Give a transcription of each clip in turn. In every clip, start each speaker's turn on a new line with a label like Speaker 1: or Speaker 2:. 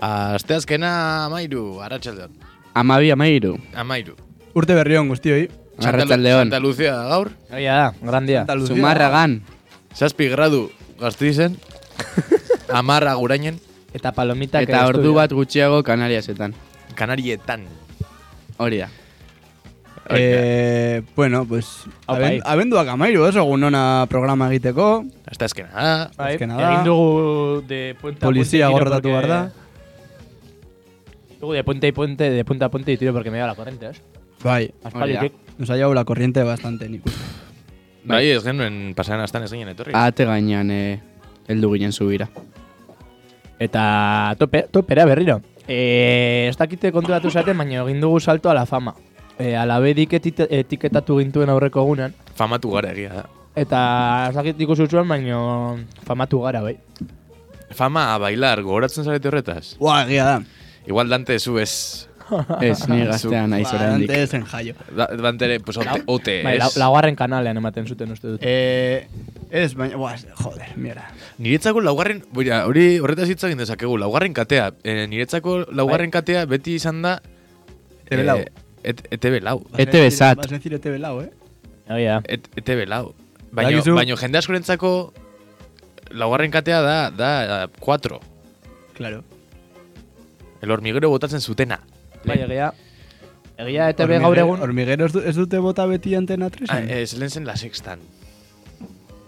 Speaker 1: Asteazkena amairu, aratsaldeon.
Speaker 2: Amabi, amairu.
Speaker 1: Amairu.
Speaker 3: Urte berri hon guztioi.
Speaker 2: Arratsaldeon.
Speaker 1: Santa Lucia da gaur.
Speaker 4: Oia da, gran dia.
Speaker 3: Santa Lucía.
Speaker 2: Zumarragan.
Speaker 1: Zazpi gradu gaztizen. Amarra gurainen.
Speaker 4: Eta palomita
Speaker 2: Eta ordu bat gutxiago Kanariasetan.
Speaker 1: Kanarietan.
Speaker 2: Hori da.
Speaker 3: Eh, bueno, pues
Speaker 4: Aupa,
Speaker 3: aben,
Speaker 4: eh.
Speaker 3: abenduak amairu, oso egunona programa egiteko.
Speaker 1: Asteazkena da.
Speaker 4: Bai,
Speaker 3: azkena da.
Speaker 4: egin dugu de puente a
Speaker 3: Polizia
Speaker 4: puente, tiro
Speaker 3: gorrotatu
Speaker 4: porque-
Speaker 3: behar da.
Speaker 4: Egin Dugu de puente y puente, de punta a punte y tiro porque me da la corriente, ¿eh?
Speaker 3: Bai,
Speaker 4: Aspalditik.
Speaker 2: Hori
Speaker 3: nos ha llevado la corriente bastante nik uste.
Speaker 1: Bai, ez genuen pasaren astan ez ginen etorri.
Speaker 2: Ate gainean eh, heldu ginen zubira.
Speaker 4: Eta tope, topera berriro. E, ez dakite konturatu zaten, baina egin dugu salto a la fama. E, alabedik etite- etiketatu gintuen aurreko egunan.
Speaker 1: Famatu gara egia da.
Speaker 4: Eta ez dakit ikusi zuen, baina famatu gara, bai.
Speaker 1: Fama a bailar, gogoratzen zarete horretaz.
Speaker 3: Ua, egia da.
Speaker 1: Igual Dante zu ez.
Speaker 2: Ez, ni gaztean naiz
Speaker 3: Ba,
Speaker 2: oraindik.
Speaker 3: Bastante zen jaio.
Speaker 1: Da, Dante ere, pues, ote, ote
Speaker 4: Bai, la,
Speaker 1: ez.
Speaker 4: laugarren kanalean ematen zuten uste dut.
Speaker 3: Eh, ez, baina, ua, joder, mira.
Speaker 1: Niretzako laugarren, boira, hori horretaz hitz egin dezakegu, laugarren katea. E, niretzako laugarren katea beti izan da...
Speaker 3: ETV lau.
Speaker 1: eh, Et, ETV lau.
Speaker 2: ETV sat.
Speaker 3: Vas a decir ETV lau, eh?
Speaker 4: Oia,
Speaker 1: Et, ETV lau. Baina,
Speaker 3: Badakizu-
Speaker 1: baina jende askorentzako laugarren katea da, da, eh, 4.
Speaker 3: Claro.
Speaker 1: El hormiguero botatzen zutena.
Speaker 4: bai,
Speaker 3: eh.
Speaker 4: egia. Egia ETV
Speaker 3: Hormige-
Speaker 4: gaur egun,
Speaker 3: Hormiguero ez du- ez dute bota beti antena 3?
Speaker 1: Ah, ez lehen zen la sextan.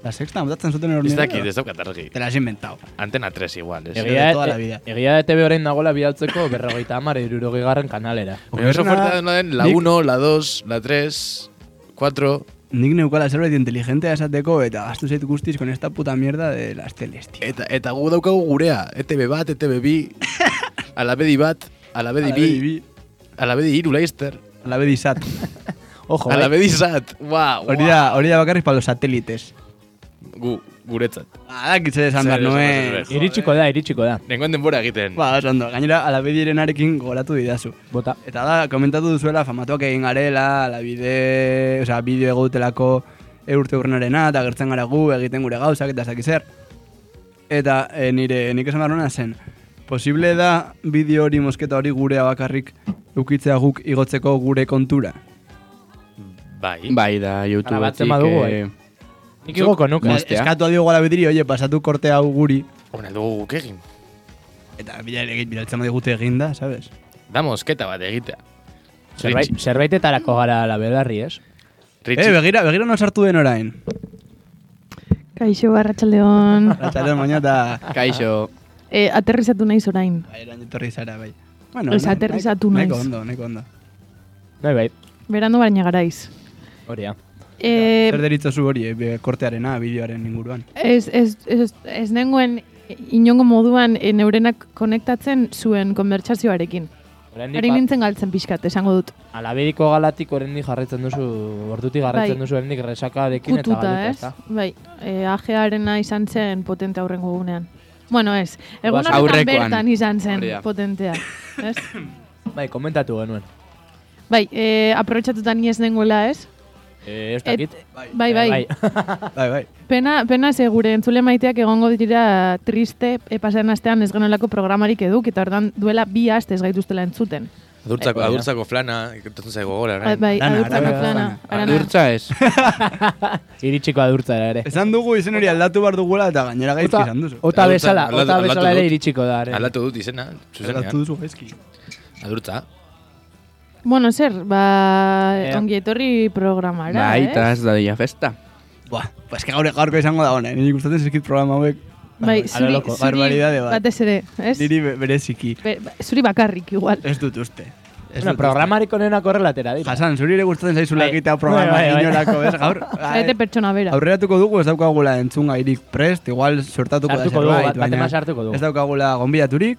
Speaker 3: La sexta, botatzen zuten
Speaker 1: Ez
Speaker 3: hormiguero.
Speaker 1: dakit, ez daukat argi.
Speaker 3: Te la has inventado.
Speaker 1: Antena 3 igual, ez.
Speaker 3: Egi-
Speaker 4: egia,
Speaker 3: de toda la vida.
Speaker 4: e- egia ETV orain dagoela bialtzeko berrogeita hamar irurogeigarren kanalera.
Speaker 1: Baina oso
Speaker 3: Horrena-
Speaker 1: fuerte da den la
Speaker 3: Nik-
Speaker 1: 1, la 2, la 3, 4...
Speaker 3: Nik neukala zerbait inteligentea esateko eta gastu zait guztiz con esta puta mierda de las teles, tío.
Speaker 1: Eta, eta gu daukagu gurea, ETB bat, ETB bi, alabedi bat, alabedi bi, alabedi iru laizter,
Speaker 3: Alabedi sat.
Speaker 4: Ojo, bai.
Speaker 1: alabedi zat, ua,
Speaker 3: Hori
Speaker 1: ua,
Speaker 3: da, hori da bakarrik para los satélites.
Speaker 1: gu, guretzat.
Speaker 3: Adak itxe esan behar
Speaker 1: Ah, Zer, esan behar
Speaker 3: nuen.
Speaker 1: zuen.
Speaker 4: Iritsiko da, iritsiko da.
Speaker 1: Nengoen denbora egiten.
Speaker 3: Ba, oso ondo. Gainera, alabedirenarekin gogoratu didazu.
Speaker 4: Bota.
Speaker 3: Eta da, komentatu duzuela, famatuak egin garela, alabide, osea, bideo egutelako eurte urrenarena, eta gertzen gara gu, egiten gure gauzak, eta ez dakit zer. Eta e, nire, nik esan behar nuena zen, posible da bideo hori mosketa hori gurea bakarrik eukitzea guk igotzeko gure kontura.
Speaker 1: Bai.
Speaker 2: Bai da,
Speaker 4: batzen
Speaker 2: YouTubetik.
Speaker 4: badugu,
Speaker 2: eh,
Speaker 4: bai. Nik igoko nuke.
Speaker 2: Mos- Mostea.
Speaker 3: Eskatu adio gara bidiri, oie, pasatu korte hau guri,
Speaker 1: Hona, dugu guk egin.
Speaker 3: eta bilaltzen bila badigute eginda, sabes?
Speaker 1: Da mosketa bat egitea.
Speaker 4: Zerbait, zerbaitetarako gara la belarri, ez?
Speaker 3: Eh, begira, begira non sartu den orain.
Speaker 5: Kaixo, arratsaldeon.
Speaker 3: Ratxaldeon baina eta...
Speaker 2: Kaixo.
Speaker 5: e, aterrizatu naiz orain.
Speaker 3: Bai, erain etorri zara, bai. Bueno,
Speaker 5: Ez
Speaker 3: na-
Speaker 5: aterrizatu
Speaker 3: nahiko-
Speaker 5: naiz.
Speaker 3: Nahiko ondo, nahiko ondo.
Speaker 4: Bai, bai,
Speaker 5: Berano baina garaiz.
Speaker 4: hori da.
Speaker 5: E,
Speaker 3: Zer deritzozu hori, eh, be- kortearena, bideoaren inguruan.
Speaker 5: ez, ez, ez, ez nengoen inongo moduan e, neurenak konektatzen zuen konbertsazioarekin. Ari
Speaker 4: Oraindik
Speaker 5: nintzen galtzen pixkat, esango dut.
Speaker 4: ba- alabediko galatik oraindik jarraitzen duzu, ordutik jarraitzen
Speaker 5: Bai.
Speaker 4: duzu oraindik resakarekin eta
Speaker 5: Kututa,
Speaker 4: galduta,
Speaker 5: ez?
Speaker 4: ezta?
Speaker 5: Bai, e, AGA-arena izan zen potente aurrengo gunean. Bueno, ez. Egun
Speaker 4: Oas-
Speaker 5: horretan
Speaker 2: aurrekoan.
Speaker 5: bertan izan zen
Speaker 2: Hori da.
Speaker 5: potentea. Ez?
Speaker 4: Bai, komentatu genuen.
Speaker 5: Bai, e, aprobetsatutan ni ez nengoela, ez?
Speaker 4: Eh, ez
Speaker 5: Et-
Speaker 4: dakit.
Speaker 5: Bai, bai.
Speaker 4: bai.
Speaker 3: Bai, bai.
Speaker 5: Pena, pena ze gure entzule maiteak egongo dira triste e, pasaren astean ez genuelako programarik eduk eta ordan duela bi aste ez gaituztela entzuten.
Speaker 1: Adurtzako,
Speaker 4: Bai.
Speaker 1: adurtzako flana, ikertatzen zaigu gora,
Speaker 5: Bai,
Speaker 1: orain.
Speaker 5: bai,
Speaker 3: Lana,
Speaker 5: adurtzako
Speaker 3: arana,
Speaker 5: plana.
Speaker 3: arana.
Speaker 5: arana.
Speaker 2: Durtza ez.
Speaker 4: Iritsiko adurtzara ere.
Speaker 3: Esan dugu izen hori aldatu behar dugula eta gainera gaizki
Speaker 4: Ota,
Speaker 3: esan duzu.
Speaker 4: ota
Speaker 1: Aldatu-
Speaker 4: bezala,
Speaker 1: aldatu-
Speaker 4: ota
Speaker 1: aldatu
Speaker 4: bezala
Speaker 1: dut.
Speaker 4: ere iritsiko da. ere.
Speaker 1: Aldatu dut izena,
Speaker 3: Aldatu
Speaker 1: zuzenean.
Speaker 3: duzu gaizki.
Speaker 1: Adurtza.
Speaker 5: Bueno, zer, ba,
Speaker 4: Ea.
Speaker 5: ongi etorri programara,
Speaker 2: Bai,
Speaker 5: eh?
Speaker 2: eta ez da dia festa.
Speaker 3: Buah, pues que gaur gaurko izango da ona, eh? niri gustatzen zaizkit programa hauek. ba,
Speaker 5: Bai,
Speaker 4: A lo
Speaker 5: zuri,
Speaker 4: loco.
Speaker 5: zuri
Speaker 3: Barbaridade bat.
Speaker 5: batez ere, ez?
Speaker 3: Niri Bai. be- bereziki.
Speaker 5: Be- ba- zuri bakarrik igual.
Speaker 3: Ez dut uste. Ez
Speaker 4: Bueno,
Speaker 3: dut
Speaker 4: programarik onenak horrelatera
Speaker 3: uste.
Speaker 4: dira.
Speaker 3: Jasan, zuri ere gustatzen zaizula
Speaker 4: Bai.
Speaker 3: egitea programa
Speaker 4: Bai, bai, bai.
Speaker 3: inorako, ez gaur?
Speaker 5: Zaete
Speaker 3: Ai,
Speaker 5: pertsona bera.
Speaker 3: Aurreratuko dugu ez daukagula entzungairik prest, igual sortatuko da
Speaker 4: Sartuko dugu,
Speaker 3: zerbait,
Speaker 4: bat baten bat sartuko
Speaker 3: ez
Speaker 4: dugu.
Speaker 3: daukagula gonbidaturik,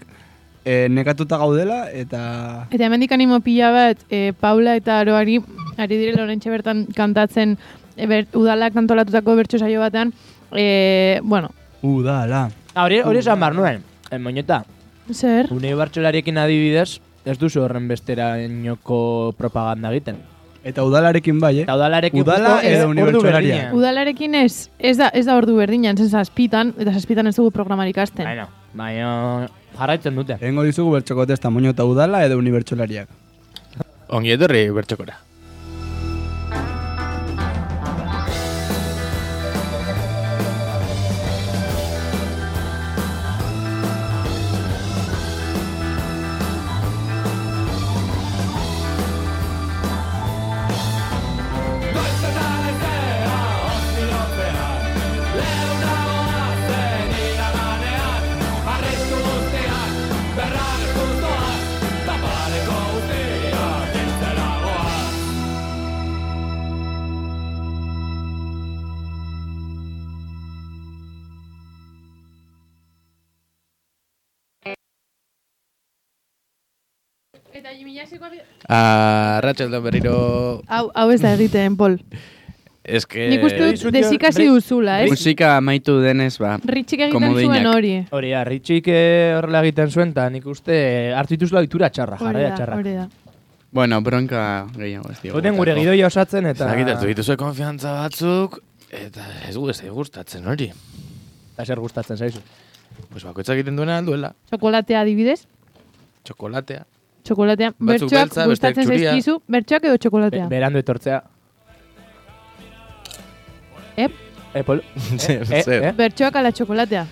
Speaker 3: eh, nekatuta gaudela eta
Speaker 5: Eta hemendik animo pila bat, e, Paula eta Aroari, ari direla orentxe bertan kantatzen, e, ber, udalak antolatutako bertso saio batean, e, bueno,
Speaker 3: udala.
Speaker 4: Ah, Hori hori esan behar nuen. Eh, Moñeta,
Speaker 5: zer?
Speaker 4: Unei Bartxolariekin adibidez, ez duzu horren bestera inoko propaganda egiten.
Speaker 3: Eta udalarekin bai, eh?
Speaker 4: Eta udalarekin
Speaker 3: Udala
Speaker 4: justo,
Speaker 3: edo
Speaker 4: eh, ordu
Speaker 3: unibertsolaria.
Speaker 4: berdinean.
Speaker 5: Udalarekin ez, ez da, ez da ordu berdinan, zen zazpitan, eta zazpitan ez dugu programarik hasten.
Speaker 4: Baina, baina Jarraitzen dute.
Speaker 3: Egingo dizugu bertxoko testa moño eta udala edo unibertsolariak.
Speaker 6: Ongi etorri bertxokora.
Speaker 5: Eta jimilasiko...
Speaker 6: Arratxaldeon berriro...
Speaker 5: Hau, hau ez da egiten, Pol.
Speaker 6: Eh, Eske...
Speaker 5: Nik uste dut desikasi
Speaker 4: Ri-
Speaker 5: duzula, ez?
Speaker 2: Musika amaitu denez, ba.
Speaker 5: Ritxik egiten
Speaker 2: komodinak.
Speaker 5: zuen hori.
Speaker 4: Hori da, Ritxik eh, horrela egiten zuen, eta nik uste eh, hartu dituzula ohitura txarra,
Speaker 5: Hori
Speaker 4: jarraia
Speaker 5: da,
Speaker 4: txarra.
Speaker 5: hori da.
Speaker 2: Bueno, bronka gehiago ez digu.
Speaker 4: Oten gure
Speaker 2: botako.
Speaker 4: gidoia osatzen eta...
Speaker 6: Zagitartu dituzue konfiantza batzuk, eta ez gu ez zaigu gustatzen hori.
Speaker 4: Eta zer gustatzen zaizu.
Speaker 6: Pues bakoitzak egiten duena duela,
Speaker 5: Txokolatea adibidez.
Speaker 6: txokolatea.
Speaker 5: Txokolatea.
Speaker 6: Batzuk
Speaker 5: Bertxoak
Speaker 6: beltza, besteak
Speaker 5: gustatzen
Speaker 6: zuria.
Speaker 5: zaizkizu. Bertxoak edo
Speaker 4: Be
Speaker 5: txokolatea.
Speaker 4: Eh, berandu etortzea.
Speaker 5: Ep.
Speaker 4: E, pol...
Speaker 6: Zer,
Speaker 4: eh,
Speaker 6: zer.
Speaker 4: eh.
Speaker 5: Bertxoak ala txokolatea.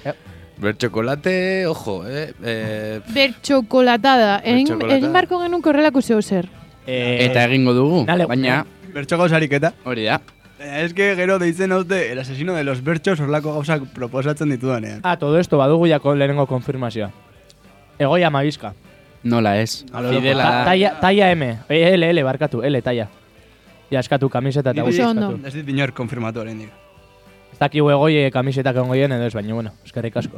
Speaker 6: Bertxokolate, ojo, eh? eh
Speaker 5: Bertxokolatada. Egin,
Speaker 6: Bertxokolatada.
Speaker 5: egin barko genuen korrelako zeo zer.
Speaker 4: Eh,
Speaker 2: Eta egingo dugu,
Speaker 4: Nale,
Speaker 2: baina
Speaker 3: Bertxoko sariketa.
Speaker 2: hori da.
Speaker 3: Baina Ez Eh, que gero deitzen haute el asesino de los bertxos horlako gauzak proposatzen ditudanean.
Speaker 4: Ah, todo esto badugu jako lehenengo konfirmazioa. Egoia magizka.
Speaker 2: Nola ez.
Speaker 3: A lo loco.
Speaker 2: Fidela
Speaker 4: Ta-
Speaker 2: da.
Speaker 4: Taia, taia M. E, L, L, barkatu. L, taia. Ja, eskatu kamiseta eta
Speaker 3: Oso
Speaker 4: guzti
Speaker 5: ondo.
Speaker 4: eskatu.
Speaker 3: Ah, Ez dit inor konfirmatu oraindik.
Speaker 4: Ez dakigu egoie kamisetak ongo edo ez, baina, bueno, eskerrik asko.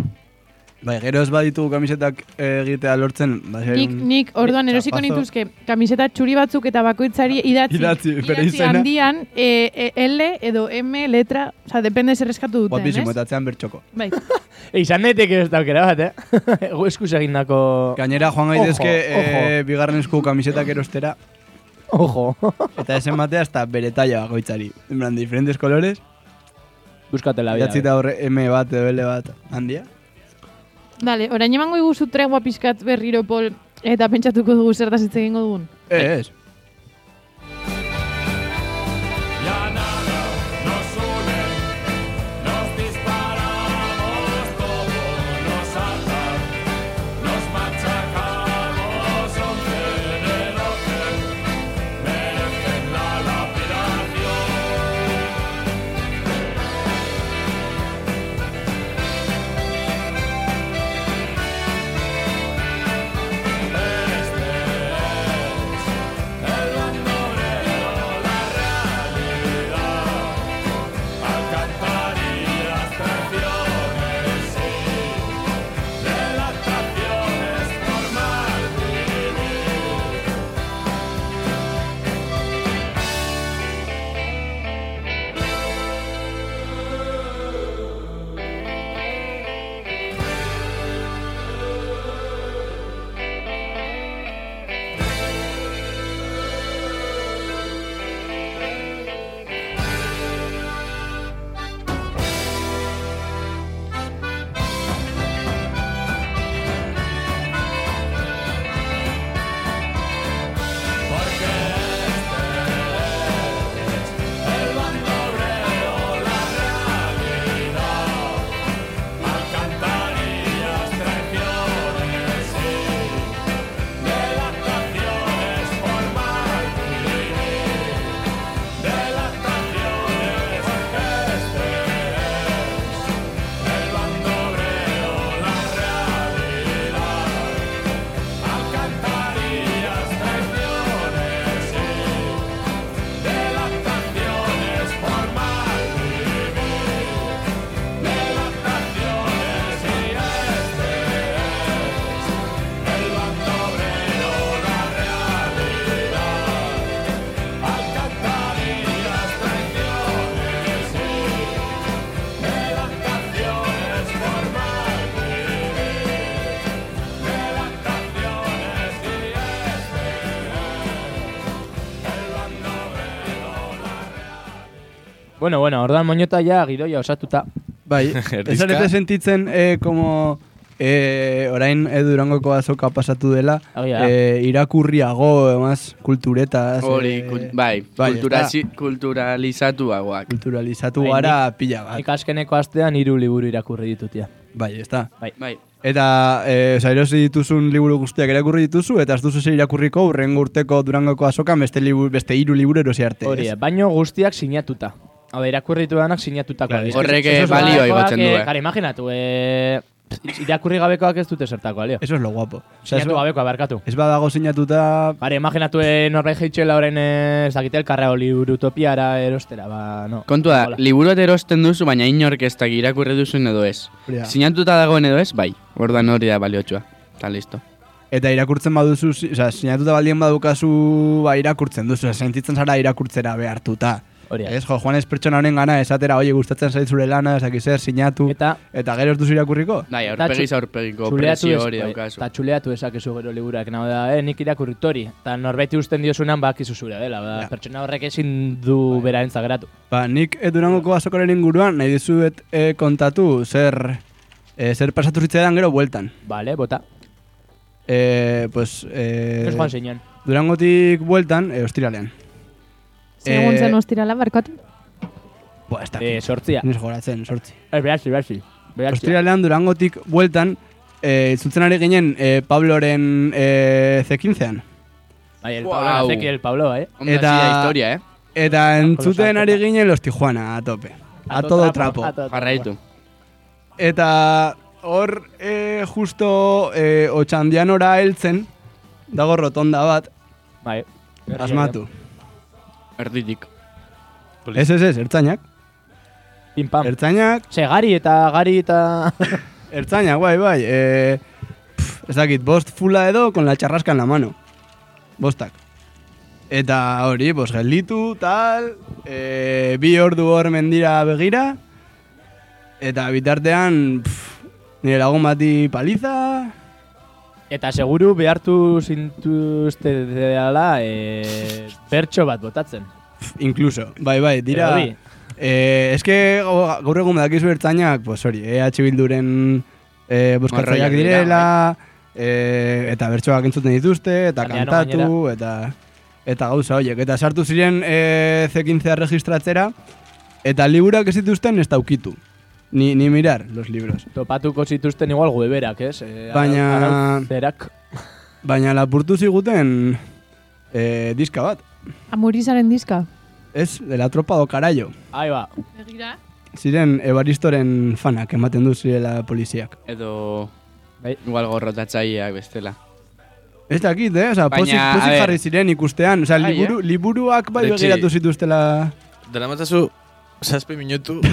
Speaker 3: Bai, gero ez baditugu kamisetak eh, egitea lortzen, ba, zer
Speaker 5: Nik,
Speaker 3: un-
Speaker 5: nik orduan erosiko
Speaker 3: txapazo.
Speaker 5: nituzke kamiseta txuri batzuk eta bakoitzari idatzi.
Speaker 3: Ah, Idatzi, bere
Speaker 5: idatzi
Speaker 3: izena.
Speaker 5: handian e, e, L edo M letra, oza, depende zer eskatu duten,
Speaker 3: guapísimo,
Speaker 5: ez?
Speaker 3: eta atzean bertxoko.
Speaker 5: Bai.
Speaker 4: E, izan daiteke ez daukera bat, eh? Gu eskuz egindako...
Speaker 3: Gainera joan gaitezke
Speaker 4: Ojo,
Speaker 3: eh, bigarren esku kamisetak erostera,
Speaker 4: Ojo.
Speaker 3: eta esen batea hasta bere talla bakoitzari. En plan, diferentes colores,
Speaker 4: Buskatela bia.
Speaker 3: idatzita horre M bat edo L bat handia.
Speaker 5: Dale, orain emango iguzu tregua pixkat berriro pol eta pentsatuko dugu zertaz hitz egingo dugun.
Speaker 3: Eh, ez.
Speaker 4: Bueno, bueno, orduan moñota ja gidoia osatuta.
Speaker 3: Bai,
Speaker 6: Erdizka.
Speaker 3: ez arete sentitzen, eh, como e, orain edu durangoko azoka pasatu dela,
Speaker 4: Hori da.
Speaker 3: e, irakurriago, emaz, kulturetaz.
Speaker 2: Hori,
Speaker 3: eh,
Speaker 2: kul- bai,
Speaker 3: bai,
Speaker 2: kultura,
Speaker 3: ez da.
Speaker 2: kulturalizatuagoak.
Speaker 3: kulturalizatu
Speaker 4: Bai,
Speaker 3: gara pila bat.
Speaker 4: Nik azkeneko astean hiru liburu irakurri ditutia.
Speaker 3: Bai, ez da.
Speaker 2: Bai,
Speaker 3: Eta, e, oza, erosi dituzun liburu guztiak irakurri dituzu, eta ez duzu zer irakurriko urrengo urteko durangoko azokan beste, liburu, beste hiru liburu erosi arte. ez?
Speaker 4: Hori, bai. da, baino guztiak sinatuta. Hau da, irakurri ditudanak sinatutako.
Speaker 3: Claro,
Speaker 4: dira.
Speaker 3: es que
Speaker 2: horrek,
Speaker 4: Esos
Speaker 2: eh, balioa
Speaker 4: gabekoak,
Speaker 2: igotzen du,
Speaker 4: eh,
Speaker 2: eh.
Speaker 4: Kara, imaginatu, eh, irakurri gabekoak ez dute zertako, alio.
Speaker 3: Eso es lo guapo. Oza, ez,
Speaker 4: Sinatu
Speaker 3: ba-
Speaker 4: gabekoa, barkatu.
Speaker 3: ez badago sinatuta...
Speaker 4: Kare, imaginatu eh, norbait jeitxela horren eh, ez dakite elkarra hori urutopiara erostera, ba, no.
Speaker 2: Kontua,
Speaker 4: Hola.
Speaker 2: liburu bat erosten duzu, baina inork ez da irakurri duzun edo ez.
Speaker 3: Hori da.
Speaker 2: Sinatuta dagoen edo ez, bai. Ordan hori da baliotsua. Ta listo.
Speaker 3: Eta irakurtzen baduzu, si- oza, sinatuta baldien badukazu, ba, irakurtzen duzu, oza, sentitzen zara irakurtzera behartuta.
Speaker 4: Hori da.
Speaker 3: Ez, jo, joan ez pertsona honen gana, esatera, oie, gustatzen zait zure lana, ezak zer, sinatu, eta,
Speaker 4: Eta
Speaker 3: gero ez duzu irakurriko?
Speaker 2: Bai,
Speaker 4: Eta
Speaker 2: aurpegiz
Speaker 4: txu-
Speaker 2: aurpegiko
Speaker 4: txuleatu,
Speaker 2: presio
Speaker 4: ez-
Speaker 2: hori
Speaker 4: bai,
Speaker 2: daukazu.
Speaker 4: eta txuleatu ezakezu gero liburak, nago da, eh, nik irakurritori. Eta norbaiti usten diozunan bakizu zure dela, ba,
Speaker 3: Ja. Bai.
Speaker 4: pertsona horrek ezin du bera geratu.
Speaker 3: Ba, nik edurangoko azokaren inguruan, nahi dizuet e, kontatu, zer, e, zer pasatu zitzaidan gero bueltan.
Speaker 4: Bale, bota.
Speaker 3: E, pues, e,
Speaker 4: Ez joan zeinan.
Speaker 3: durangotik bueltan, e, ostiralean.
Speaker 5: Segun
Speaker 3: Eh,
Speaker 5: zen ostirala, barkatu.
Speaker 3: Boa, ez
Speaker 4: Eh,
Speaker 3: dakit.
Speaker 4: sortzia.
Speaker 3: Nes goratzen, sortzi.
Speaker 4: Eh, beratzi, beratzi. Beratzi.
Speaker 3: Ostiralean durangotik bueltan, e, itzultzen ari ginen e, Pabloren e, zekinzean.
Speaker 4: Bai, el
Speaker 2: Wow.
Speaker 4: Pablo, nazeki el Pablo, eh.
Speaker 2: Onda
Speaker 3: eta-
Speaker 2: eta... historia, eh?
Speaker 3: Eta entzuten
Speaker 4: Kolosal,
Speaker 3: ari
Speaker 4: topa.
Speaker 3: ginen los Tijuana, a tope. Ah, A, todo trapo.
Speaker 4: a todo
Speaker 2: Jarraitu.
Speaker 3: Eta hor e, justo e, otxandianora heltzen, dago rotonda bat,
Speaker 4: trapo. Bai.
Speaker 3: asmatu.
Speaker 2: Erditik.
Speaker 3: Ez, ez, ez, ertzainak.
Speaker 4: Pim pam.
Speaker 3: Ertzainak,
Speaker 4: Ze, gari eta gari eta...
Speaker 3: ertzainak, bai, bai. E, pf, ez dakit, bost fula edo, con la charrasca en la mano. Bostak. Eta hori, bos, gelditu, tal, e, bi ordu hor mendira begira, eta bitartean, pf, nire lagun bati paliza,
Speaker 4: Eta seguru behartu zintuzte dela e, bertso bat botatzen.
Speaker 3: Pff, Incluso, bai, bai, dira...
Speaker 4: Edo bi.
Speaker 3: Eh, eske gau- gaur egun badakizu ertzainak, pues hori, EH Bilduren eh,
Speaker 2: Marroiak
Speaker 3: buskatzaileak
Speaker 2: dira,
Speaker 3: direla,
Speaker 4: bai.
Speaker 3: eh, eta bertsoak entzuten dituzte, eta
Speaker 4: Kalean
Speaker 3: kantatu, eta eta gauza horiek. Eta sartu ziren eh, C15 registratzera, eta liburak ez dituzten ez daukitu. Ni, ni mirar los libros.
Speaker 4: Topatuko zituzten igual gueberak, ez? E,
Speaker 3: Baina-
Speaker 4: Zerak.
Speaker 3: Baina lapurtu ziguten eh, diska bat.
Speaker 5: Amurizaren diska.
Speaker 3: Ez, de la tropa do carayo.
Speaker 4: Ahí ba.
Speaker 5: Begira.
Speaker 3: Ziren Ebaristoren fanak ematen du zirela poliziak.
Speaker 2: Edo...
Speaker 4: Bai.
Speaker 2: Igual gorrotatzaileak bestela.
Speaker 3: Ez dakit, eh? Osa,
Speaker 2: Baina,
Speaker 3: pozik,
Speaker 2: a
Speaker 3: pozik
Speaker 2: ber.
Speaker 3: jarri ziren ikustean. Osa,
Speaker 2: Bai,
Speaker 3: liburu, liburuak bai
Speaker 6: Retxi.
Speaker 3: begiratu zituztela...
Speaker 6: Dara matzazu, zazpi minutu